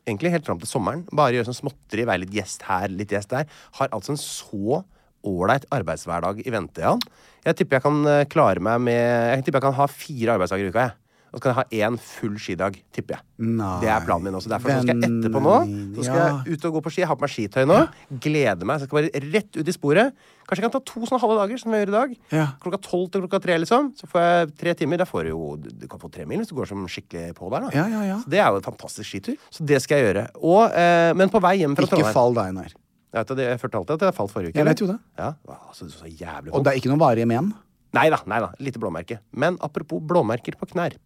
[SPEAKER 2] Egentlig helt fram til sommeren. Bare gjøre sånn småtteri, være litt gjest her, litt gjest der. Har altså en så ålreit arbeidshverdag i vente, Jan. Jeg tipper jeg kan eh, klare meg med Jeg tipper jeg kan ha fire arbeidsdager i uka, jeg. Og så kan jeg ha én full skidag, tipper jeg.
[SPEAKER 3] Nei.
[SPEAKER 2] Det er planen min også. Derfor så skal jeg etterpå nå. Så skal
[SPEAKER 3] Ja.
[SPEAKER 2] jeg ut og gå på ski. Jeg har på meg skitøy nå. Gleder meg. Så jeg skal bare rett ut i sporet. Kanskje jeg kan ta to sånne halve dager, som jeg gjør i dag.
[SPEAKER 3] Ja.
[SPEAKER 2] Klokka tolv til klokka tre, liksom. Så får jeg tre timer. Da får du jo Du kan få tre mil hvis du går som skikkelig på der, da.
[SPEAKER 3] Ja, ja, ja.
[SPEAKER 2] Så det er jo en fantastisk skitur. Så det skal jeg gjøre. Og, eh, men på vei hjem fra
[SPEAKER 3] Ikke
[SPEAKER 2] Trondheim
[SPEAKER 3] fall deg, Einar.
[SPEAKER 2] Jeg, vet, at jeg følte alltid at jeg falt forrige uke.
[SPEAKER 3] Jeg
[SPEAKER 2] eller?
[SPEAKER 3] vet jo det.
[SPEAKER 2] Ja. Wow, så, så jævlig
[SPEAKER 3] Og
[SPEAKER 2] vondt.
[SPEAKER 3] det er ikke noen varige men.
[SPEAKER 2] Nei da, nei da. Lite blåmerke. Men apropos blåmerker på knær.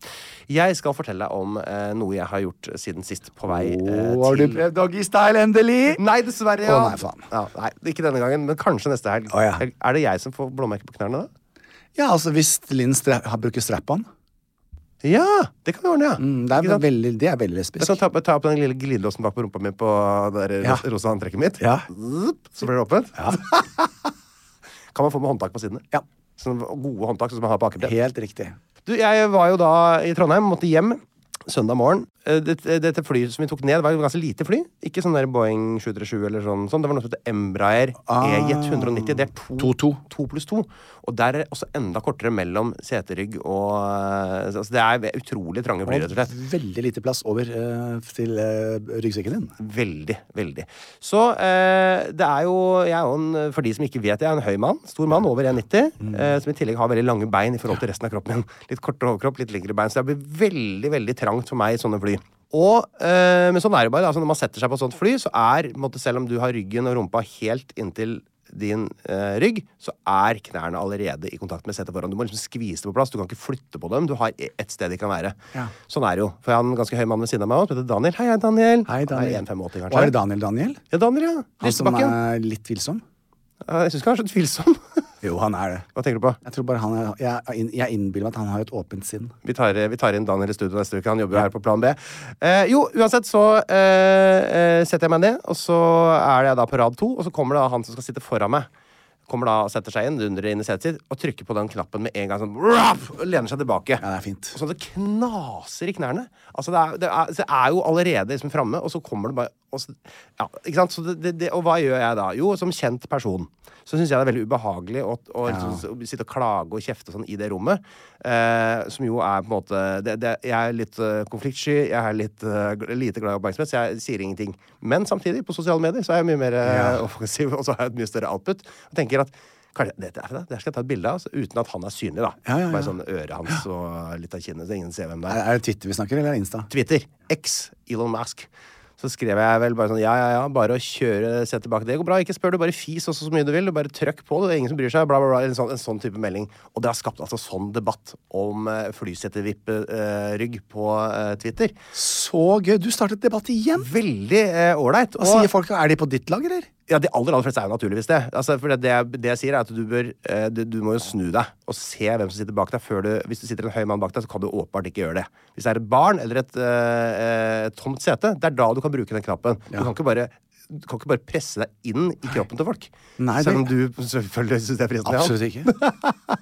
[SPEAKER 2] Jeg skal fortelle deg om eh, noe jeg har gjort siden sist på vei eh,
[SPEAKER 3] Å, har du
[SPEAKER 2] til
[SPEAKER 3] prøvd doggystyle, endelig?
[SPEAKER 2] Nei, dessverre, ja.
[SPEAKER 3] Å, nei, faen.
[SPEAKER 2] Ja, nei, ikke denne gangen, men kanskje neste helg.
[SPEAKER 3] Å, ja.
[SPEAKER 2] Er det jeg som får blåmerke på knærne, da?
[SPEAKER 3] Ja, altså hvis Linn stra har- bruker strap-on.
[SPEAKER 2] Ja! Det kan vi ordne, ja.
[SPEAKER 3] Mm, det,
[SPEAKER 2] Ikke
[SPEAKER 3] er
[SPEAKER 2] sant?
[SPEAKER 3] veldig, det er veldig
[SPEAKER 2] Jeg
[SPEAKER 3] lesbisk.
[SPEAKER 2] kan ta, ta opp den lille glidelåsen bak på rumpa mi på det der
[SPEAKER 3] Ja.
[SPEAKER 2] ros- rosa antrekket mitt.
[SPEAKER 3] Ja.
[SPEAKER 2] Zup, Så blir det åpent. kan man få med håndtak på sidene.
[SPEAKER 3] Ja.
[SPEAKER 2] Sånne gode håndtak sånn som man har på akebrett.
[SPEAKER 3] Helt riktig.
[SPEAKER 2] Du, jeg var jo da i Trondheim, måtte hjem søndag morgen. Eh, Dette, dette flyet som vi tok ned, var jo ganske lite fly. Ikke sånn der Boeing 737 eller sånn. sånn. Det var noe som heter Embraer E E-Jet 190. Det er Ah. to, to pluss to. Og der er det også enda kortere mellom seterygg og eh, altså Det er utrolig trange fly, rett og slett.
[SPEAKER 3] Veldig lite plass over eh, til eh, ryggsekken din.
[SPEAKER 2] Veldig, veldig. Så eh, det er jo Jeg er jo en, for de som ikke vet, jeg er en høy mann. Stor mann, over 1,90. Eh, som i tillegg har veldig lange bein i forhold til resten av kroppen min. Litt kortere overkropp, litt lengre bein. Så det blir veldig, veldig trangt for meg i sånne fly. Og, eh, men sånn er det bare. Altså, når man setter seg på et sånt fly, så er på en måte, Selv om du har ryggen og rumpa helt inntil din eh, rygg, så er knærne allerede i kontakt med setet foran. Du må liksom skvise det på plass. Du kan ikke flytte på dem. Du har ett sted de kan være. Sånn er det jo. For jeg har en ganske høy mann ved siden av meg også, som heter Daniel. Hei, hei, Daniel.
[SPEAKER 3] Hei,
[SPEAKER 2] Han
[SPEAKER 3] Daniel.
[SPEAKER 2] er 1,85 kanskje.
[SPEAKER 3] Var det Daniel Daniel?
[SPEAKER 2] Ja, Daniel, ja.
[SPEAKER 3] Han som
[SPEAKER 2] Lysbakken.
[SPEAKER 3] er litt tvilsom?
[SPEAKER 2] Ja, Jeg syns ikke han er så tvilsom.
[SPEAKER 3] Jo, han er det.
[SPEAKER 2] Hva tenker du på?
[SPEAKER 3] Jeg tror bare han er, jeg, jeg innbiller meg at han har et åpent sinn.
[SPEAKER 2] Vi tar, eh, vi tar inn Daniel i studio neste uke. Han jobber jo her på Plan B. Eh, jo, uansett så eh, eh, setter jeg meg ned, og så er jeg da på rad to, og så kommer da han som skal sitte foran meg. Kommer da og setter seg inn, dundrer inn i setet sitt, og trykker på den knappen med en gang sånn «Ruff!» og lener seg tilbake.
[SPEAKER 3] Ja, det er fint.
[SPEAKER 2] Og sånn det knaser i knærne. Altså, det er, det er, så det er jo allerede liksom framme, og så kommer det bare og, så, ja, ikke sant? Så det, det, det, og hva gjør jeg da? Jo, som kjent person så syns jeg det er veldig ubehagelig å, å, liksom s- sitte og klage og kjefte og sånn i det rommet. Eh, som jo er på en måte det, det, Jeg er litt eh, konfliktsky, jeg er litt eh, gl- lite glad i oppmerksomhet, så jeg sier ingenting. Men samtidig, på sosiale medier så er jeg mye mer eh, offensiv, og så har jeg et mye større output. Og tenker at Kanskje, det, det, det skal jeg ta et bilde av, så uten at han er synlig. da
[SPEAKER 3] Ja, ja, ja.
[SPEAKER 2] Bare sånn øret hans og litt av kinnet, så ingen ser hvem det er.
[SPEAKER 3] Er, er det Twitter vi snakker, eller er det Insta?
[SPEAKER 2] Twitter, X, Elon Musk. Så skrev jeg vel bare sånn ja, ja, ja, bare å kjøre, se tilbake, det går bra. Ikke spør, du bare fis også så mye du vil. Du bare trøkk på, det er ingen som bryr seg. Bla, bla, bla. En sånn, en sånn type melding. Og det har skapt altså sånn debatt om uh, flysetevipp-rygg på eh, Twitter.
[SPEAKER 3] Så gøy! Du startet debatt igjen!
[SPEAKER 2] Veldig eh, ålreit.
[SPEAKER 3] Hva sier folk? Er de på ditt lag, eller?
[SPEAKER 2] Ja, De aller aller fleste er jo naturligvis det. Altså, for det, det, jeg- det jeg sier er at Du bør, eh, du, du må jo snu deg og se hvem som sitter bak deg. Før du, hvis du sitter en høy mann bak deg, så kan du åpenbart ikke gjøre det. Hvis det er et barn eller et, eh, eh, tomt sete, det er da du kan bruke den knappen. Du, kan ikke bare, du kan ikke bare presse deg inn i kroppen til folk.
[SPEAKER 3] Nei,
[SPEAKER 2] Selv om
[SPEAKER 3] det-
[SPEAKER 2] du selvfølgelig syns det er fristende. ja.
[SPEAKER 3] Absolutt ikke.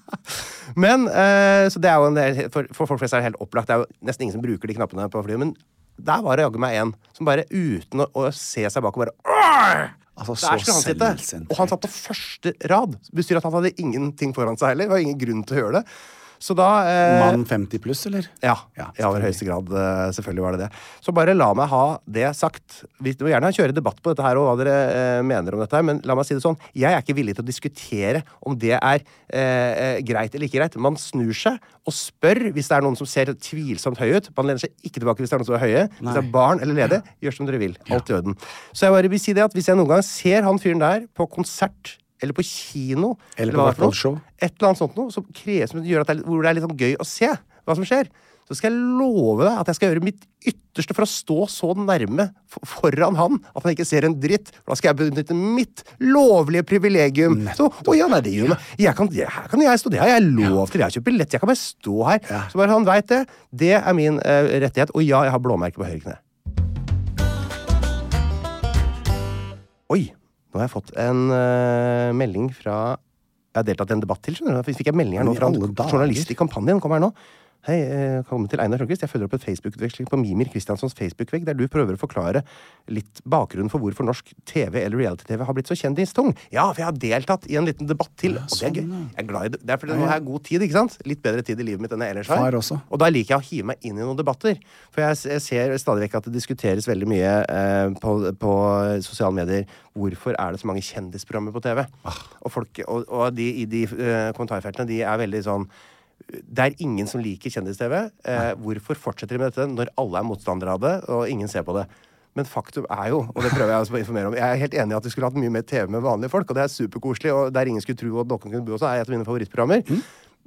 [SPEAKER 2] Men, eh, så det er jo en del, for, for folk flest er det helt opplagt. Det er jo nesten ingen som bruker de knappene på flyet. Men der var det jaggu meg en som bare uten å, å se seg bak og bare «Åh!»
[SPEAKER 3] Altså,
[SPEAKER 2] Der
[SPEAKER 3] så
[SPEAKER 2] skulle han sitte!
[SPEAKER 3] selvsentrert.
[SPEAKER 2] Og han satt på første rad. Det Betyr at han hadde ingenting foran seg heller. Det var ingen grunn til å gjøre det. Så da eh,
[SPEAKER 3] Mann 50 pluss, eller?
[SPEAKER 2] Ja, i aller høyeste grad. eh, Selvfølgelig var det det. Så bare la meg ha det sagt. Vi må gjerne kjøre debatt på dette her og hva dere eh, mener om dette, her, men la meg si det sånn. Jeg er ikke villig til å diskutere om det er eh, eh, greit eller ikke greit. Man snur seg og spør hvis det er noen som ser tvilsomt høy ut. Man lener seg ikke tilbake hvis det er noen som er høye. Hvis det er barn eller ledige, gjør som dere vil. Alt i orden. Så jeg bare vil si det at hvis jeg noen gang ser han fyren der på konsert eller på kino
[SPEAKER 3] Eller
[SPEAKER 2] hva det er
[SPEAKER 3] på
[SPEAKER 2] for noe,
[SPEAKER 3] Vaktholdshow.
[SPEAKER 2] et eller annet sånt noe som, krever, som gjør at det er, hvor det er litt sånn gøy å se hva som skjer, så skal jeg love deg at jeg skal gjøre mitt ytterste for å stå så nærme f- foran han at han ikke ser en dritt. For da skal jeg benytte mitt lovlige privilegium. Så, å ja, nei, det gjør meg. Jeg kan, jeg, her kan jeg stå, det har jeg lov til. Jeg kjøper billett, jeg kan bare stå her. Så bare han veit det. Det er min eh, rettighet. Og ja, jeg har blåmerke på høyre kne. Oi, nå har jeg fått en eh, melding fra Jeg har deltatt i en debatt til, skjønner du. Fikk jeg melding her nå
[SPEAKER 3] Men i
[SPEAKER 2] fra
[SPEAKER 3] alle
[SPEAKER 2] en
[SPEAKER 3] dager.
[SPEAKER 2] journalist i kampanjen? Kom her nå. Hei, eh, velkommen til Einar Sundquist. Jeg følger opp et Facebook-utveksling på Mimir Kristiansons Facebook-vegg, der du prøver å forklare litt bakgrunnen for hvorfor norsk TV eller reality-TV har blitt så kjendistung. Ja, for jeg har deltatt i en liten debatt til, og det er
[SPEAKER 3] sånn,
[SPEAKER 2] gøy. Jeg er glad i det. Det er fordi nå har jeg god tid, ikke sant? Litt bedre tid i livet mitt enn jeg ellers har.
[SPEAKER 3] Far også.
[SPEAKER 2] Og da liker jeg å hive meg inn i noen debatter. For jeg, s- jeg ser stadig vekk at det diskuteres veldig mye eh, på, på sosiale medier hvorfor er det så mange kjendisprogrammer på TV.
[SPEAKER 3] Ah.
[SPEAKER 2] Og, folk, og, og de i de eh, kommentarfeltene de er veldig sånn det er ingen som liker kjendis-TV. Eh, hvorfor fortsetter de med dette når alle er motstandere av det, og ingen ser på det? Men faktum er jo, og det prøver jeg også å informere om Jeg er helt enig i at vi skulle hatt mye mer TV med vanlige folk, og det er superkoselig, og der ingen skulle tro at noen kunne bo også, er et av mine favorittprogrammer.
[SPEAKER 3] Mm.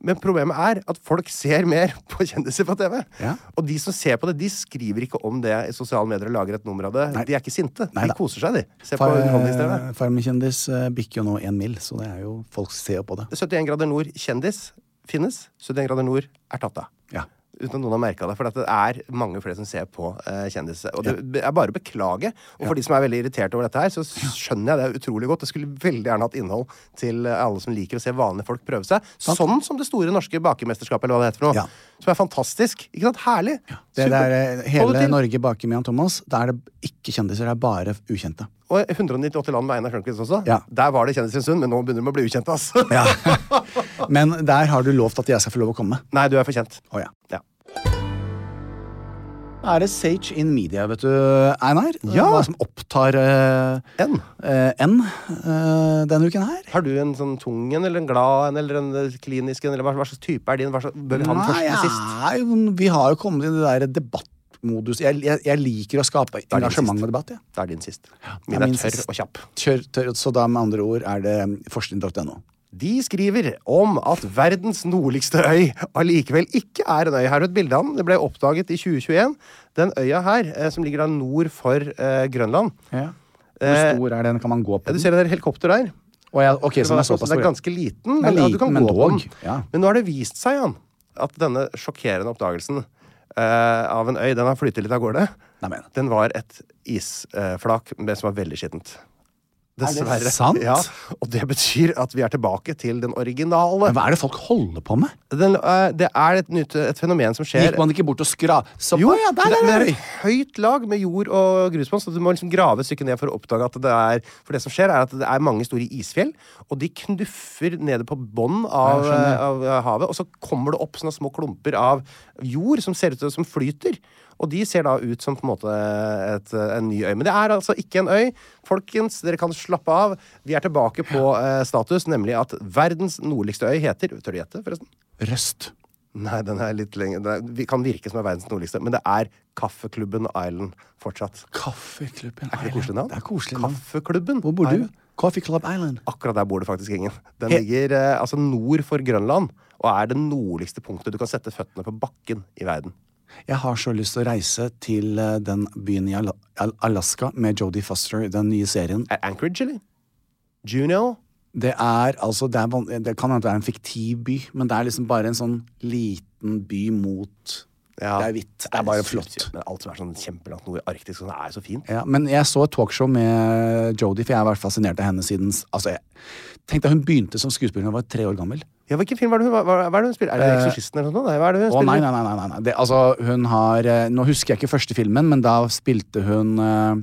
[SPEAKER 2] Men problemet er at folk ser mer på kjendiser på TV.
[SPEAKER 3] Ja.
[SPEAKER 2] Og de som ser på det, de skriver ikke om det i sosiale medier og lager et nummer av det.
[SPEAKER 3] Nei.
[SPEAKER 2] De er ikke sinte.
[SPEAKER 3] Nei da.
[SPEAKER 2] de koser seg, de. Se på underholdningstv.
[SPEAKER 3] Far- Farmen kjendis eh, bikker jo nå én mil, så det er jo folk ser jo på det.
[SPEAKER 2] 71 grader nord kjendis finnes. 71 grader nord er tatt av.
[SPEAKER 3] Ja.
[SPEAKER 2] Uten at noen har merka det. For at det er mange flere som ser på eh, kjendiser. Og det er bare å beklage. Og for de som er veldig irritert over dette her, så skjønner jeg det utrolig godt. Jeg skulle veldig gjerne hatt innhold til eh, alle som liker å se vanlige folk prøve seg. Sånn som det store norske bakermesterskapet, eller hva det heter for noe.
[SPEAKER 3] Ja.
[SPEAKER 2] Som er fantastisk. Ikke sant? Herlig.
[SPEAKER 3] Det
[SPEAKER 2] Supert.
[SPEAKER 3] der, eh,
[SPEAKER 2] Få det
[SPEAKER 3] hele
[SPEAKER 2] til.
[SPEAKER 3] Norge baker med Jan Thomas. Da er det ikke kjendiser, det er bare ukjente.
[SPEAKER 2] Og 198 land med Einar Sjønkvist også.
[SPEAKER 3] Ja.
[SPEAKER 2] Der var det kjendiser en stund, men nå begynner de å bli altså. ukjente, ass.
[SPEAKER 3] Men der har du lovt at jeg skal få lov å komme.
[SPEAKER 2] Nei, du er for kjent.
[SPEAKER 3] Å ja.
[SPEAKER 2] Ja.
[SPEAKER 3] Da er det Sage in Media, vet du, Einar.
[SPEAKER 2] Ja.
[SPEAKER 3] Hva som opptar eh,
[SPEAKER 2] Enn.
[SPEAKER 3] eh, N eh, denne uken her.
[SPEAKER 2] Har du en sånn tung en, eller en glad en, eller en eh, klinisk en, eller hva, hva slags type er din? Hva slags, bør vi ha den først
[SPEAKER 3] Nei,
[SPEAKER 2] eller sist?
[SPEAKER 3] jeg er jo- vi har jo kommet i det der debattmodus. Jeg, jeg, jeg liker å skape
[SPEAKER 2] er det
[SPEAKER 3] engasjement
[SPEAKER 2] sist.
[SPEAKER 3] med debatt. jeg.
[SPEAKER 2] Det er din sist.
[SPEAKER 3] det er
[SPEAKER 2] Min er
[SPEAKER 3] min
[SPEAKER 2] tørr
[SPEAKER 3] sist.
[SPEAKER 2] og kjapp.
[SPEAKER 3] Kjør, tør, så da med andre ord er det mm, forskning.no.
[SPEAKER 2] De skriver om at verdens nordligste øy allikevel ikke er en øy. Her er et bilde av den. Det ble oppdaget i 2021. Den øya her, eh, som ligger da nord for eh, Grønland
[SPEAKER 3] Hvor stor er den? Kan man gå
[SPEAKER 2] Eh,
[SPEAKER 3] på
[SPEAKER 2] ja, Du
[SPEAKER 3] den?
[SPEAKER 2] ser det der helikopter der?
[SPEAKER 3] Å, ja, ok, så den er
[SPEAKER 2] Så
[SPEAKER 3] såpass
[SPEAKER 2] den sånn, er
[SPEAKER 3] stor.
[SPEAKER 2] ganske liten,
[SPEAKER 3] Den er
[SPEAKER 2] men, ja, du
[SPEAKER 3] liten,
[SPEAKER 2] kan
[SPEAKER 3] men
[SPEAKER 2] gå på
[SPEAKER 3] dog.
[SPEAKER 2] den.
[SPEAKER 3] Ja.
[SPEAKER 2] Men nå har det vist seg, Jan, at denne sjokkerende oppdagelsen eh, av en øy, den har flyttet litt av gårde.
[SPEAKER 3] Nei, men.
[SPEAKER 2] Den var et isflak eh, men som var veldig skittent. Dessverre.
[SPEAKER 3] sant?
[SPEAKER 2] Ja, og det betyr at vi er tilbake til den originale.
[SPEAKER 3] Men Hva er det folk holder på med?
[SPEAKER 2] Den, eh, det er et, nytt, et fenomen som skjer
[SPEAKER 3] Gikk man ikke bort og skra... Så,
[SPEAKER 2] jo,
[SPEAKER 3] Å, ja, der,
[SPEAKER 2] det-
[SPEAKER 3] der,
[SPEAKER 2] men
[SPEAKER 3] der,
[SPEAKER 2] det er et høyt lag med jord og grusbånd, så du må liksom grave et stykke ned for å oppdage at det er For det som skjer, er at det er mange store isfjell, og de knuffer nede på bånn av, eh, av havet, og så kommer det opp sånne små klumper av jord som ser ut til- som flyter. Og de ser da ut som på en måte et, en ny øy. Men det er altså ikke en øy. Folkens, dere kan slappe av. Vi er tilbake på eh, status, nemlig at verdens nordligste øy heter Tør du gjette, forresten?
[SPEAKER 3] Røst.
[SPEAKER 2] Nei, den er litt lenger den er, vi Kan virke som er verdens nordligste, men det er Kaffeklubben Island fortsatt.
[SPEAKER 3] Kaffeklubben.
[SPEAKER 2] Er ikke det koselig navn?
[SPEAKER 3] Det er koselig navn.
[SPEAKER 2] Kaffeklubben.
[SPEAKER 3] Hvor bor du?
[SPEAKER 2] Island.
[SPEAKER 3] Coffee Club Island.
[SPEAKER 2] Akkurat der bor det faktisk ingen. Den
[SPEAKER 3] He-
[SPEAKER 2] ligger eh, altså nord for Grønland, og er det nordligste punktet du kan sette føttene på bakken i verden.
[SPEAKER 3] Jeg har så lyst til å reise til eh, den byen i Ala- Al- Alaska med Jodie Foster, den nye serien.
[SPEAKER 2] Er Anchorage, eller? Juno?
[SPEAKER 3] Det er altså Det, er, van- det kan hende det er en fiktiv by, men det er liksom bare en sånn liten by mot
[SPEAKER 2] Ja.
[SPEAKER 3] Det er hvitt. Det er bare flott.
[SPEAKER 2] Men alt som er sånn kjempelangt nord i Arktis, sånn, er jo så fint.
[SPEAKER 3] Ja, men jeg så et talkshow med Jodie, for jeg har vært fascinert av henne siden altså jeg, Tenk deg, hun begynte som skuespiller da hun var tre år gammel.
[SPEAKER 2] Ja, Hvilken film er det hun, hva, hva er det hun spiller? Er det Eksorsisten eller noe sånt? Nei, Hva er det hun
[SPEAKER 3] Eh, Å, nei,
[SPEAKER 2] spiller?
[SPEAKER 3] nei, nei. nei, nei, nei. Det, altså, hun har eh, Nå husker jeg ikke første filmen, men da spilte hun eh,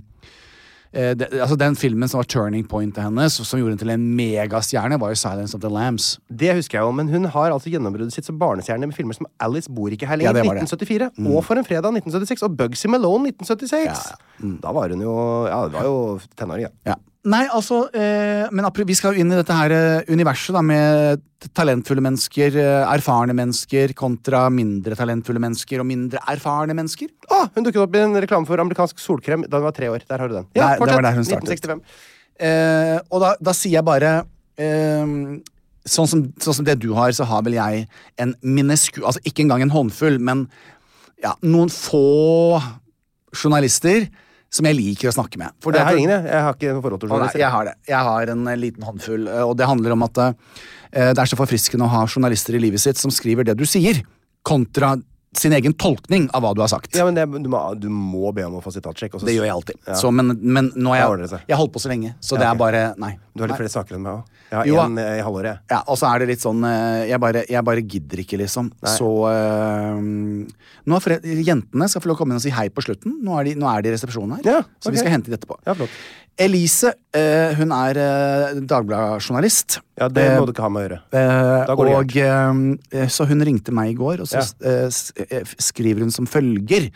[SPEAKER 3] eh, det, altså Den filmen som var turning pointet hennes, som gjorde henne til en megastjerne, var jo 'Silence of the Lambs'.
[SPEAKER 2] Det husker jeg jo, men hun har altså gjennombruddet sitt som barnestjerne med filmer som 'Alice bor ikke her
[SPEAKER 3] Ja,
[SPEAKER 2] lenger'
[SPEAKER 3] det Mm. var det.
[SPEAKER 2] 1974, og 'For en fredag' 1976, og 'Bugsy Malone' 1976.
[SPEAKER 3] Mm.
[SPEAKER 2] Da var hun jo Ja, det var jo tenåring, ja.
[SPEAKER 3] Ja. Nei, altså eh, Men apro- vi skal jo inn i dette her eh, universet da med t- talentfulle mennesker, eh, erfarne mennesker kontra mindre talentfulle mennesker og mindre erfarne mennesker.
[SPEAKER 2] Å, hun dukket opp i en reklame for amerikansk solkrem da hun var tre år. Der har du den. Ja,
[SPEAKER 3] Der- det var
[SPEAKER 2] fortsett.
[SPEAKER 3] der hun startet.
[SPEAKER 2] 1965.
[SPEAKER 3] Eh, og da, da sier jeg bare eh, sånn, som, sånn som det du har, så har vel jeg en minesku... Altså ikke engang en håndfull, men ja, noen få journalister som jeg liker å snakke med. For det
[SPEAKER 2] Jeg har
[SPEAKER 3] at-
[SPEAKER 2] ingen, jeg. Jeg har ikke noe forhold til
[SPEAKER 3] Å, nei,
[SPEAKER 2] journalister.
[SPEAKER 3] jeg har det. Jeg har en eh, liten håndfull, eh, og det handler om at eh, det er så forfriskende å ha journalister i livet sitt som skriver det du sier, kontra sin egen tolkning av hva du har sagt.
[SPEAKER 2] Ja, men det, du, må, du må be om å få sitatsjekk. og så-
[SPEAKER 3] det gjør jeg alltid.
[SPEAKER 2] Ja.
[SPEAKER 3] Så, men, men nå har
[SPEAKER 2] Da ordner
[SPEAKER 3] jeg,
[SPEAKER 2] det seg.
[SPEAKER 3] jeg har holdt på så lenge, så
[SPEAKER 2] Ja,
[SPEAKER 3] det
[SPEAKER 2] ok.
[SPEAKER 3] er bare Nei.
[SPEAKER 2] Du har litt
[SPEAKER 3] Nei.
[SPEAKER 2] flere saker enn meg òg. Jeg
[SPEAKER 3] Jo,
[SPEAKER 2] har
[SPEAKER 3] ja.
[SPEAKER 2] én i halvåret.
[SPEAKER 3] Ja, og så er det litt sånn eh, Jeg bare, jeg bare gidder ikke, liksom. Så eh, Nå er fre- Jentene skal få lov å komme inn og si hei på slutten. Nå er de, nå er de i resepsjonen her.
[SPEAKER 2] Ja,
[SPEAKER 3] Så
[SPEAKER 2] ok.
[SPEAKER 3] vi skal hente de etterpå.
[SPEAKER 2] Ja, flott.
[SPEAKER 3] Elise, eh, hun er uh, Dagbladet-journalist.
[SPEAKER 2] Ja, det
[SPEAKER 3] Eh,
[SPEAKER 2] må du ikke ha med å gjøre.
[SPEAKER 3] Eh,
[SPEAKER 2] Da går det
[SPEAKER 3] og, eh, så hun ringte meg i går, og så eh, s- eh, f- skriver hun som følger.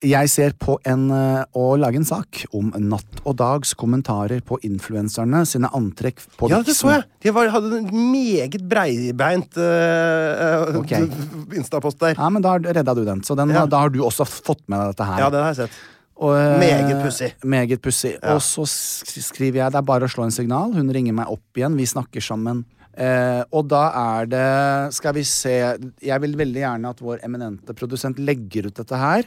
[SPEAKER 3] Jeg ser på en, eh, å lage en sak om natt og dags kommentarer på influenserne sine antrekk på
[SPEAKER 2] Ja, det sånn. så
[SPEAKER 3] Vixen.
[SPEAKER 2] jeg! De var, hadde en meget breibeint eh, eh,
[SPEAKER 3] Ok.
[SPEAKER 2] Insta-post der.
[SPEAKER 3] Ja, men Da har- redda du den. Så den,
[SPEAKER 2] Ja.
[SPEAKER 3] da har du også fått med deg dette her.
[SPEAKER 2] Ja, den har jeg sett.
[SPEAKER 3] Og, eh,
[SPEAKER 2] Meget pussig.
[SPEAKER 3] Meget pussig. Og så sk- skriver jeg det er bare å slå en signal. Hun ringer meg opp igjen. Vi snakker sammen. Eh, og da er det Skal vi se Jeg vil veldig gjerne at vår eminente produsent legger ut dette her.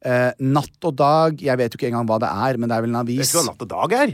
[SPEAKER 3] Eh, natt og dag Jeg vet jo ikke engang hva det er, men det er vel en
[SPEAKER 2] Vet
[SPEAKER 3] avis.
[SPEAKER 2] du hva Natt og Dag er?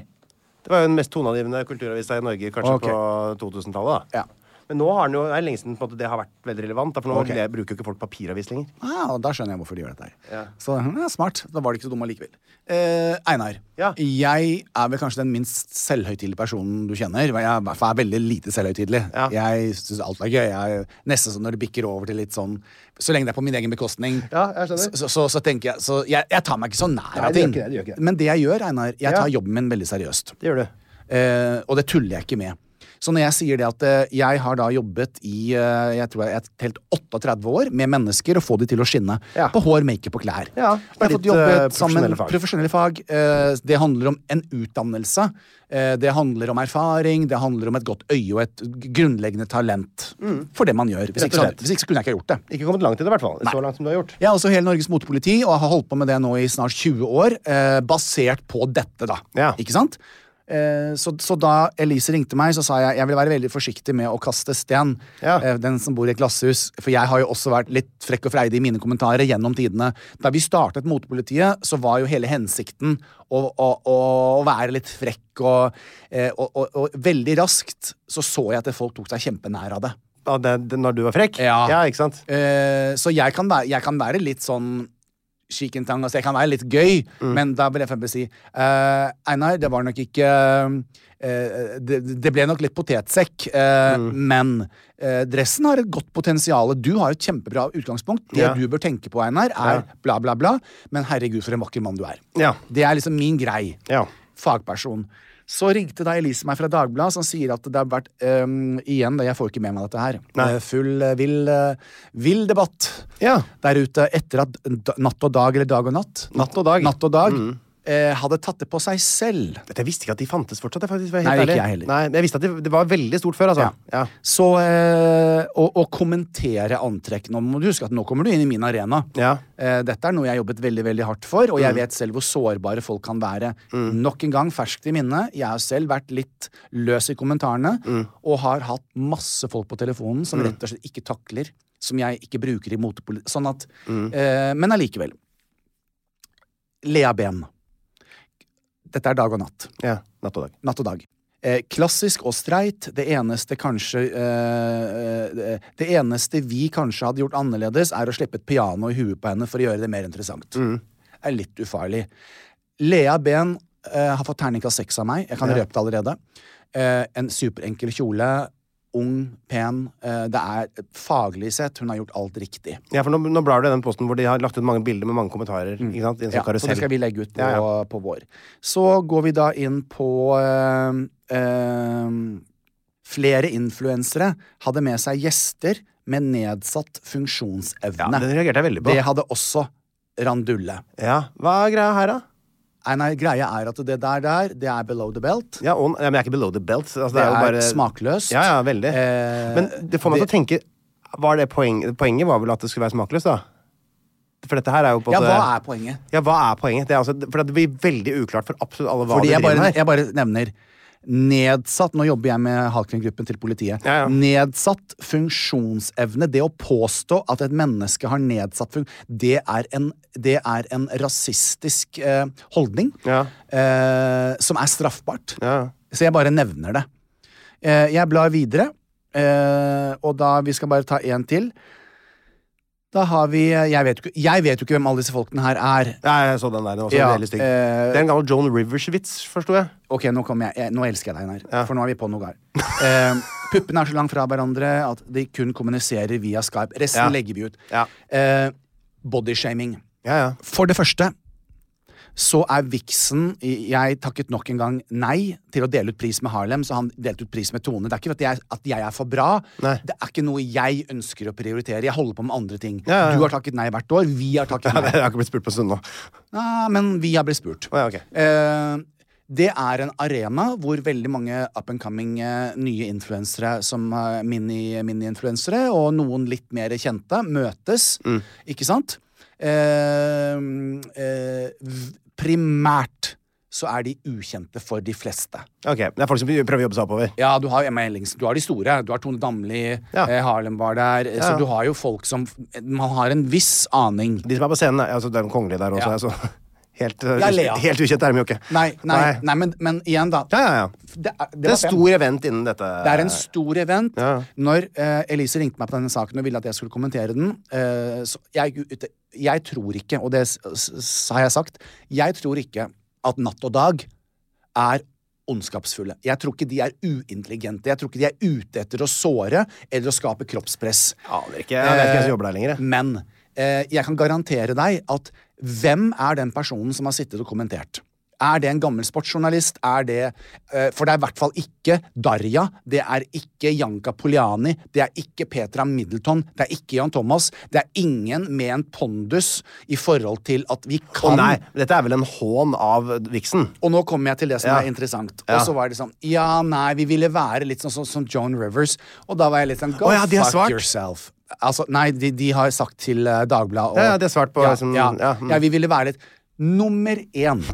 [SPEAKER 2] Det var jo den mest toneangivende kulturavisa i Norge kanskje
[SPEAKER 3] Ok.
[SPEAKER 2] på 2000-tallet. da.
[SPEAKER 3] Ja.
[SPEAKER 2] Men nå har den jo, det er lenge siden på en måte, det har vært veldig relevant. da, For nå
[SPEAKER 3] Ok.
[SPEAKER 2] le- bruker jo ikke folk papiravis lenger.
[SPEAKER 3] Ah, og da skjønner jeg hvorfor de gjør dette her. Så hm, ja, smart. Da var det ikke så dum allikevel. Eh, Einar,
[SPEAKER 2] Ja.
[SPEAKER 3] jeg er vel kanskje den minst selvhøytidelige personen du kjenner. Jeg er, i hvert fall er veldig lite selvhøytidelig.
[SPEAKER 2] Ja.
[SPEAKER 3] Jeg syns alt er gøy. Jeg er nesten sånn når det bikker over til litt sånn Så lenge det er på min egen bekostning,
[SPEAKER 2] Ja, jeg
[SPEAKER 3] så,
[SPEAKER 2] skjønner.
[SPEAKER 3] så, så, tenker jeg Så jeg, jeg tar meg ikke så nær
[SPEAKER 2] Nei,
[SPEAKER 3] av
[SPEAKER 2] du gjør
[SPEAKER 3] ting.
[SPEAKER 2] ikke det, du gjør ikke det.
[SPEAKER 3] Men det jeg gjør, Einar, jeg
[SPEAKER 2] Ja.
[SPEAKER 3] tar jobben min veldig seriøst.
[SPEAKER 2] Det gjør du.
[SPEAKER 3] Eh, og det tuller jeg ikke med. Så når jeg sier det at eh, jeg har da jobbet i eh, jeg tror jeg har telt 38 år med mennesker og få de til å skinne
[SPEAKER 2] Ja.
[SPEAKER 3] på hår, makeup og klær.
[SPEAKER 2] Ja,
[SPEAKER 3] jeg har
[SPEAKER 2] ditt,
[SPEAKER 3] fått jobbet
[SPEAKER 2] eh, profesjonelle
[SPEAKER 3] sammen
[SPEAKER 2] fag.
[SPEAKER 3] profesjonelle fag. Eh, det handler om en utdannelse. Eh, det handler om erfaring. Det handler om et godt øye og et grunnleggende talent for det man gjør. Hvis
[SPEAKER 2] Mm. Rett
[SPEAKER 3] ikke,
[SPEAKER 2] og
[SPEAKER 3] så,
[SPEAKER 2] slett.
[SPEAKER 3] hvis ikke så kunne jeg ikke ha gjort det.
[SPEAKER 2] Ikke kommet langt i det, i hvert fall. Så langt som du har gjort.
[SPEAKER 3] Jeg er også hele Norges motepoliti og har holdt på med det nå i snart 20 år, eh, basert på dette, da.
[SPEAKER 2] Ja.
[SPEAKER 3] Ikke sant? Eh, så, så da Elise ringte meg, så sa jeg jeg vil være veldig forsiktig med å kaste sten.
[SPEAKER 2] Ja.
[SPEAKER 3] Eh, den som bor i et glasshus. For jeg har jo også vært litt frekk og freidig i mine kommentarer gjennom tidene. Da vi startet Motepolitiet, så var jo hele hensikten å, å, å, å være litt frekk og, eh, og, og, og veldig raskt så så jeg at folk tok seg kjempenær av det.
[SPEAKER 2] Ja, det, det, når du var frekk?
[SPEAKER 3] Ja.
[SPEAKER 2] ikke sant?
[SPEAKER 3] Eh, så jeg kan, være, jeg kan være litt sånn Shikintang, altså jeg kan være litt gøy,
[SPEAKER 2] Mm.
[SPEAKER 3] men da vil FNB si eh, Einar, det var nok ikke eh, det, det ble nok litt potetsekk, eh,
[SPEAKER 2] Mm.
[SPEAKER 3] men eh, dressen har et godt potensial. Du har et kjempebra utgangspunkt. Det
[SPEAKER 2] Ja.
[SPEAKER 3] du bør tenke på, Einar, er
[SPEAKER 2] Ja.
[SPEAKER 3] bla, bla, bla, men herregud, for en vakker mann du er.
[SPEAKER 2] Ja.
[SPEAKER 3] Det er liksom min grei
[SPEAKER 2] Ja.
[SPEAKER 3] fagperson. Så ringte da Elise meg fra Dagbladet, som sier at det har vært øhm, Igjen, det, jeg får ikke med meg dette her.
[SPEAKER 2] Nei.
[SPEAKER 3] Eh, Full eh, vill, eh, vill debatt
[SPEAKER 2] Ja.
[SPEAKER 3] der ute etter at da- Natt og dag, eller Dag og natt,
[SPEAKER 2] Natt og dag. Mm.
[SPEAKER 3] natt og dag eh, hadde tatt det på seg selv.
[SPEAKER 2] Vet du, Jeg visste ikke at de fantes fortsatt. Jeg, faktisk, var helt
[SPEAKER 3] Nei, ikke
[SPEAKER 2] ærlig.
[SPEAKER 3] jeg heller.
[SPEAKER 2] Nei, men jeg visste at det, det var veldig stort før, altså. Ja.
[SPEAKER 3] Så eh, å, å kommentere antrekk Nå må du huske at nå kommer du inn i min arena.
[SPEAKER 2] Ja.
[SPEAKER 3] Eh, dette er noe jeg har jobbet veldig veldig hardt for, og jeg vet selv hvor sårbare folk kan være. Nok en gang ferskt i minne. Jeg har selv vært litt løs i kommentarene, og har hatt masse folk på telefonen som rett og slett ikke takler, som jeg ikke bruker i motepolitikk. Sånn at eh, Men allikevel. Lea Ben. Dette er dag og natt.
[SPEAKER 2] ja. Natt og dag.
[SPEAKER 3] Natt og dag. Eh, klassisk og streit. Det eneste kanskje eh, eh, Det eneste vi kanskje hadde gjort annerledes, er å slippe et piano i huet på henne for å gjøre det mer interessant. Er litt ufarlig. Lea Ben eh, har fått terningkast seks av meg. Jeg kan røpe det allerede. Eh, en superenkel kjole. ung, pen. eh, Det er faglig sett, hun har gjort alt riktig.
[SPEAKER 2] Ja, for nå, nå blar du i den posten hvor de har lagt ut mange bilder med mange kommentarer. Ikke sant? I en sånn
[SPEAKER 3] Mm. Ja, og
[SPEAKER 2] karusell.
[SPEAKER 3] det skal vi legge ut på,
[SPEAKER 2] Ja, ja.
[SPEAKER 3] på vår. Så går vi da inn på eh, eh, Flere influensere hadde med seg gjester med nedsatt funksjonsevne.
[SPEAKER 2] Ja, den reagerte jeg veldig på.
[SPEAKER 3] Det hadde også Randulle.
[SPEAKER 2] Ja, Hva er greia her, da?
[SPEAKER 3] Nei, nei, greia er at det der, der, det er below the belt.
[SPEAKER 2] Ja, og, ja, men jeg er ikke below the belt. Altså,
[SPEAKER 3] Det
[SPEAKER 2] jo
[SPEAKER 3] er
[SPEAKER 2] bare-
[SPEAKER 3] smakløst.
[SPEAKER 2] Ja, ja, veldig.
[SPEAKER 3] Eh,
[SPEAKER 2] men det får meg til å
[SPEAKER 3] det-
[SPEAKER 2] tenke var det poeng, Poenget var vel at det skulle være smakløst, da? For dette her er jo på en
[SPEAKER 3] Ja,
[SPEAKER 2] måte-
[SPEAKER 3] hva er poenget?
[SPEAKER 2] Ja, hva er poenget? Det, er altså, for det blir veldig uklart for absolutt alle hva de
[SPEAKER 3] Fordi jeg
[SPEAKER 2] driver
[SPEAKER 3] bare,
[SPEAKER 2] med her.
[SPEAKER 3] jeg bare nevner nedsatt Nå jobber jeg med Halkren-gruppen til politiet.
[SPEAKER 2] Ja, ja.
[SPEAKER 3] Nedsatt funksjonsevne, det å påstå at et menneske har nedsatt fun... Det er en, det er en rasistisk eh, holdning
[SPEAKER 2] Ja.
[SPEAKER 3] eh, som er straffbart.
[SPEAKER 2] Ja.
[SPEAKER 3] Så jeg bare nevner det. Eh, jeg blar videre, eh, og da Vi skal bare ta én til. Da har vi jeg vet, jo ikke, jeg vet jo ikke hvem alle disse folkene her er.
[SPEAKER 2] ja, jeg så den der. Den var også
[SPEAKER 3] Ja,
[SPEAKER 2] veldig stygg.
[SPEAKER 3] eh,
[SPEAKER 2] det er en gammel Joan Rivers-vits, forsto jeg.
[SPEAKER 3] Ok, nå, kommer jeg, jeg, nå elsker jeg deg, Einar.
[SPEAKER 2] Ja.
[SPEAKER 3] For nå er vi på noe her. Eh, puppene er så langt fra hverandre at de kun kommuniserer via Skype. Resten
[SPEAKER 2] Ja.
[SPEAKER 3] legger vi ut.
[SPEAKER 2] Ja.
[SPEAKER 3] Eh, Bodyshaming.
[SPEAKER 2] Ja, ja.
[SPEAKER 3] For det første så er Vixen Jeg takket nok en gang nei til å dele ut pris med Harlem, så han delte ut pris med Tone. Det er ikke at jeg, at jeg er for bra.
[SPEAKER 2] Nei.
[SPEAKER 3] Det er ikke noe jeg ønsker å prioritere. Jeg holder på med andre ting.
[SPEAKER 2] Ja, ja, ja.
[SPEAKER 3] Du har takket nei hvert år. Vi har takket
[SPEAKER 2] Ja,
[SPEAKER 3] nei.
[SPEAKER 2] det- jeg har ikke blitt spurt på en stund nå.
[SPEAKER 3] Nei, Ah, men vi har blitt spurt.
[SPEAKER 2] Å, ja, ok.
[SPEAKER 3] Eh, det er en arena hvor veldig mange up and coming eh, nye influensere, som eh, mini- mini-influensere, og noen litt mer kjente, møtes.
[SPEAKER 2] Mm.
[SPEAKER 3] Ikke sant? Eh, eh, v- primært så er de ukjente for de fleste.
[SPEAKER 2] Ok, Det er folk som prøver å jobbe seg oppover.
[SPEAKER 3] Ja, du har Emma Ellingsen, du har de store. Du har Tone Damli,
[SPEAKER 2] Ja.
[SPEAKER 3] eh, Harlem var der. eh,
[SPEAKER 2] Ja.
[SPEAKER 3] Så du har jo folk som Man har en viss aning.
[SPEAKER 2] De som er på scenen, er- altså, det er den kongelige der også.
[SPEAKER 3] Ja.
[SPEAKER 2] Altså. Helt,
[SPEAKER 3] Ja, Lea.
[SPEAKER 2] helt ukjent er de jo ikke.
[SPEAKER 3] Nei, nei, nei. men, men igjen, da.
[SPEAKER 2] Ja, ja, ja.
[SPEAKER 3] Det er, det
[SPEAKER 2] Det er
[SPEAKER 3] var
[SPEAKER 2] en
[SPEAKER 3] fem.
[SPEAKER 2] stor event innen dette.
[SPEAKER 3] Det er en stor event.
[SPEAKER 2] Ja.
[SPEAKER 3] Når eh, Elise ringte meg på denne saken og ville at jeg skulle kommentere den eh, så jeg, gikk ut- jeg tror ikke, og det s- s- har jeg sagt, jeg tror ikke at Natt og Dag er ondskapsfulle. Jeg tror ikke de er uintelligente. Jeg tror ikke de er ute etter å såre eller å skape kroppspress.
[SPEAKER 2] Aner ikke. Jeg vet ikke hvem som jobber der lenger. jeg.
[SPEAKER 3] Men eh, jeg kan garantere deg at hvem er den personen som har sittet og kommentert? Er det en gammel sportsjournalist? Er det, eh, for det er i hvert fall ikke Darja. Det er ikke Janka Poliani. Det er ikke Petra Middleton. Det er ikke Jan Thomas. Det er ingen med en pondus i forhold til at vi
[SPEAKER 2] Å
[SPEAKER 3] kan
[SPEAKER 2] nei, dette er vel en hån av Vixen.
[SPEAKER 3] og nå kommer jeg til det som
[SPEAKER 2] Ja.
[SPEAKER 3] er interessant.
[SPEAKER 2] Ja.
[SPEAKER 3] Og så var det sånn Ja, nei, vi ville være litt sånn som som Joan Rivers. Og da var jeg litt sånn Go
[SPEAKER 2] Å ja, de har
[SPEAKER 3] fuck
[SPEAKER 2] svart.
[SPEAKER 3] yourself. Altså, nei, de, de har sagt til eh, Dagbladet og
[SPEAKER 2] Ja, ja, de har svart på
[SPEAKER 3] ja,
[SPEAKER 2] liksom-
[SPEAKER 3] ja,
[SPEAKER 2] ja, mm.
[SPEAKER 3] ja, vi ville være litt Nummer én.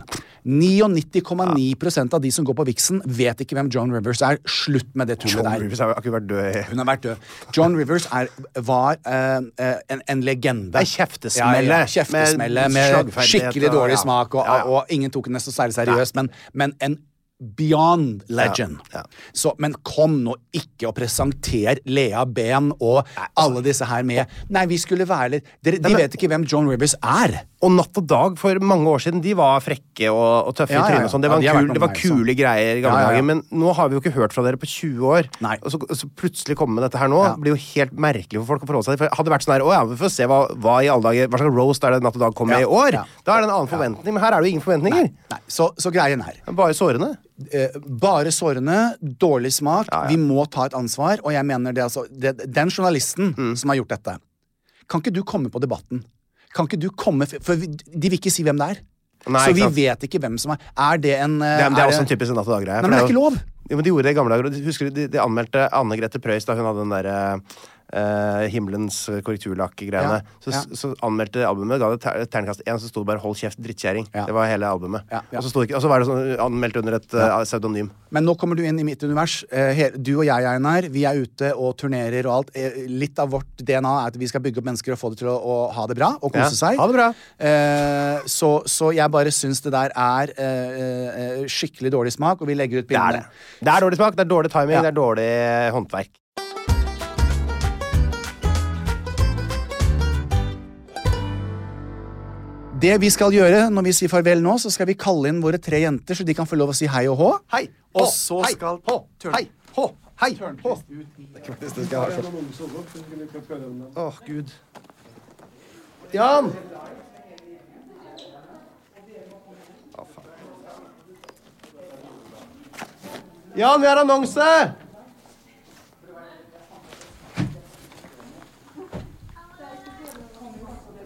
[SPEAKER 3] 99,9 av de som går på Vixen, vet ikke hvem Joan Rivers er. Slutt med det tullet
[SPEAKER 2] John
[SPEAKER 3] der.
[SPEAKER 2] Rivers har jo akkurat vært død i
[SPEAKER 3] Hun har vært død. John Rivers er, var eh, eh, en, en legende.
[SPEAKER 2] Det er kjeftesmelle.
[SPEAKER 3] Ja, ja, kjeftesmelle
[SPEAKER 2] Med
[SPEAKER 3] med,
[SPEAKER 2] slagferdighet
[SPEAKER 3] skikkelig
[SPEAKER 2] og-
[SPEAKER 3] dårlig
[SPEAKER 2] ja.
[SPEAKER 3] smak, og,
[SPEAKER 2] Ja, ja.
[SPEAKER 3] og ingen tok henne så særlig seriøst, men, men en beyond legend.
[SPEAKER 2] Ja, ja.
[SPEAKER 3] Så, men kom nå ikke og presenter Lea Behn og alle disse her med Nei, vi skulle være litt Dere, De
[SPEAKER 2] altså. men-
[SPEAKER 3] vet ikke hvem John Rivers er.
[SPEAKER 2] Og Natt og Dag for mange år siden, de var frekke og, og tøffe
[SPEAKER 3] Ja, ja,
[SPEAKER 2] i
[SPEAKER 3] ja.
[SPEAKER 2] trynet. og sånn. Det
[SPEAKER 3] Ja,
[SPEAKER 2] var,
[SPEAKER 3] de
[SPEAKER 2] en
[SPEAKER 3] har vært
[SPEAKER 2] kul, det
[SPEAKER 3] noen
[SPEAKER 2] var
[SPEAKER 3] meg, så.
[SPEAKER 2] kule greier i gamle
[SPEAKER 3] Ja, ja, ja.
[SPEAKER 2] dager, men nå har vi jo ikke hørt fra dere på 20 år.
[SPEAKER 3] Nei.
[SPEAKER 2] Og, så, og så plutselig komme med dette her nå blir jo helt merkelig for folk å forholde seg til. For hadde det vært sånn her, å ja, vi får se hva, hva i alle dager, hva slags roast er det Natt og Dag kommer med
[SPEAKER 3] Ja,
[SPEAKER 2] i år?
[SPEAKER 3] ja.
[SPEAKER 2] Da er det en annen forventning, men her er det jo ingen forventninger.
[SPEAKER 3] Nei, så, så greien er
[SPEAKER 2] Det er Bare sårende.
[SPEAKER 3] eh, bare sårende, dårlig smak.
[SPEAKER 2] Ja, ja.
[SPEAKER 3] Vi må ta et ansvar. Og jeg mener det, altså, det, den journalisten
[SPEAKER 2] Mm.
[SPEAKER 3] som har gjort dette Kan ikke du komme på Debatten? Kan ikke du komme f- For vi, de vil ikke si hvem det er.
[SPEAKER 2] Nei,
[SPEAKER 3] så
[SPEAKER 2] ikke
[SPEAKER 3] vi
[SPEAKER 2] sant.
[SPEAKER 3] vet ikke hvem som er Eh, Er det en
[SPEAKER 2] Det, er- det er også en typisk Natt og Dag-greie.
[SPEAKER 3] Nei,
[SPEAKER 2] for
[SPEAKER 3] men det
[SPEAKER 2] jo-
[SPEAKER 3] er ikke lov!
[SPEAKER 2] Jo, men de gjorde det i gamle dager. og de- Husker du, de, de anmeldte Anne Grete Preus da hun hadde den derre himmelens korrekturlakk-greiene.
[SPEAKER 3] Ja,
[SPEAKER 2] Så,
[SPEAKER 3] ja.
[SPEAKER 2] så anmeldte albumet, ga det ter terningkast én, så sto det bare 'Hold kjeft, drittkjerring'.
[SPEAKER 3] Ja.
[SPEAKER 2] Det var hele albumet.
[SPEAKER 3] Ja, ja.
[SPEAKER 2] Og, så sto det ikke, og så var det sånn anmeldt under et eh, pseudonym.
[SPEAKER 3] Men nå kommer du inn i mitt univers. Eh, he- Du og jeg, Einar, vi er ute og turnerer og alt. Eh, Litt av vårt DNA er at vi skal bygge opp mennesker og få det til å, å ha det bra og
[SPEAKER 2] Ja,
[SPEAKER 3] kose seg.
[SPEAKER 2] ha det bra.
[SPEAKER 3] Eh, så, så jeg bare syns det der er eh, eh, skikkelig dårlig smak, og vi legger ut
[SPEAKER 2] Det er
[SPEAKER 3] bildene.
[SPEAKER 2] det. Det er dårlig smak, det er dårlig timing,
[SPEAKER 3] Ja.
[SPEAKER 2] det er dårlig eh, håndverk.
[SPEAKER 3] Det vi skal gjøre når vi sier farvel nå, så skal vi kalle inn våre tre jenter, så de kan få lov å si hei og hå.
[SPEAKER 2] Hei,
[SPEAKER 3] Og
[SPEAKER 2] hå,
[SPEAKER 3] så
[SPEAKER 2] hei,
[SPEAKER 3] skal
[SPEAKER 2] hå, hei, hå, Hei! Åh! Det er ikke faktisk det skal jeg ha sånn. Åh, gud. Jan! Å, faen. Jan, vi har annonse!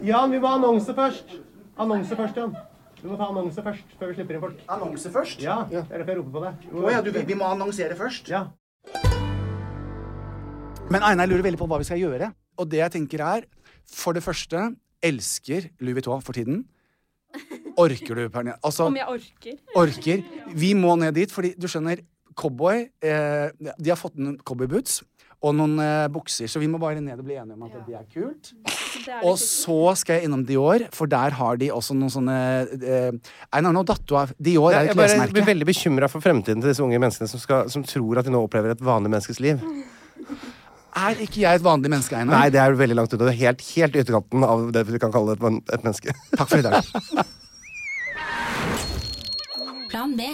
[SPEAKER 2] Jan, vi må ha annonse først. Annonse først, Jan. Du må ta annonse først før vi slipper inn folk.
[SPEAKER 4] Annonse først?
[SPEAKER 2] Ja, det er derfor jeg roper på deg.
[SPEAKER 4] Å ja, du, vi, vi må annonsere først?
[SPEAKER 2] Ja.
[SPEAKER 3] Men Einar lurer veldig på hva vi skal gjøre. Og det jeg tenker er, for det første, elsker Louis Vuitton for tiden. Orker du, Pernille? Altså,
[SPEAKER 5] Om jeg orker?
[SPEAKER 3] orker. Vi må ned dit, fordi du skjønner, cowboy eh, De har fått noen cowboyboots og noen eh, bukser, så vi må bare ned og bli enige om at det er kult.
[SPEAKER 5] Det er det
[SPEAKER 3] Og
[SPEAKER 5] sikkert.
[SPEAKER 3] så skal jeg innom Dior, for der har de også noen sånne eh, Einar, nå datt du av. Dior
[SPEAKER 2] Ja,
[SPEAKER 3] er
[SPEAKER 2] jeg
[SPEAKER 3] et
[SPEAKER 2] bare blir
[SPEAKER 3] klesmerke.
[SPEAKER 2] veldig bekymra for fremtiden til disse unge menneskene som, skal, som tror at de nå opplever et vanlig menneskes liv.
[SPEAKER 3] Er ikke jeg et vanlig menneske, Einar?
[SPEAKER 2] Nei, det er veldig langt unna. Det er helt, helt i ytterkanten av det vi kan kalle et, men- et menneske.
[SPEAKER 3] Takk for i dag.
[SPEAKER 6] Plan B.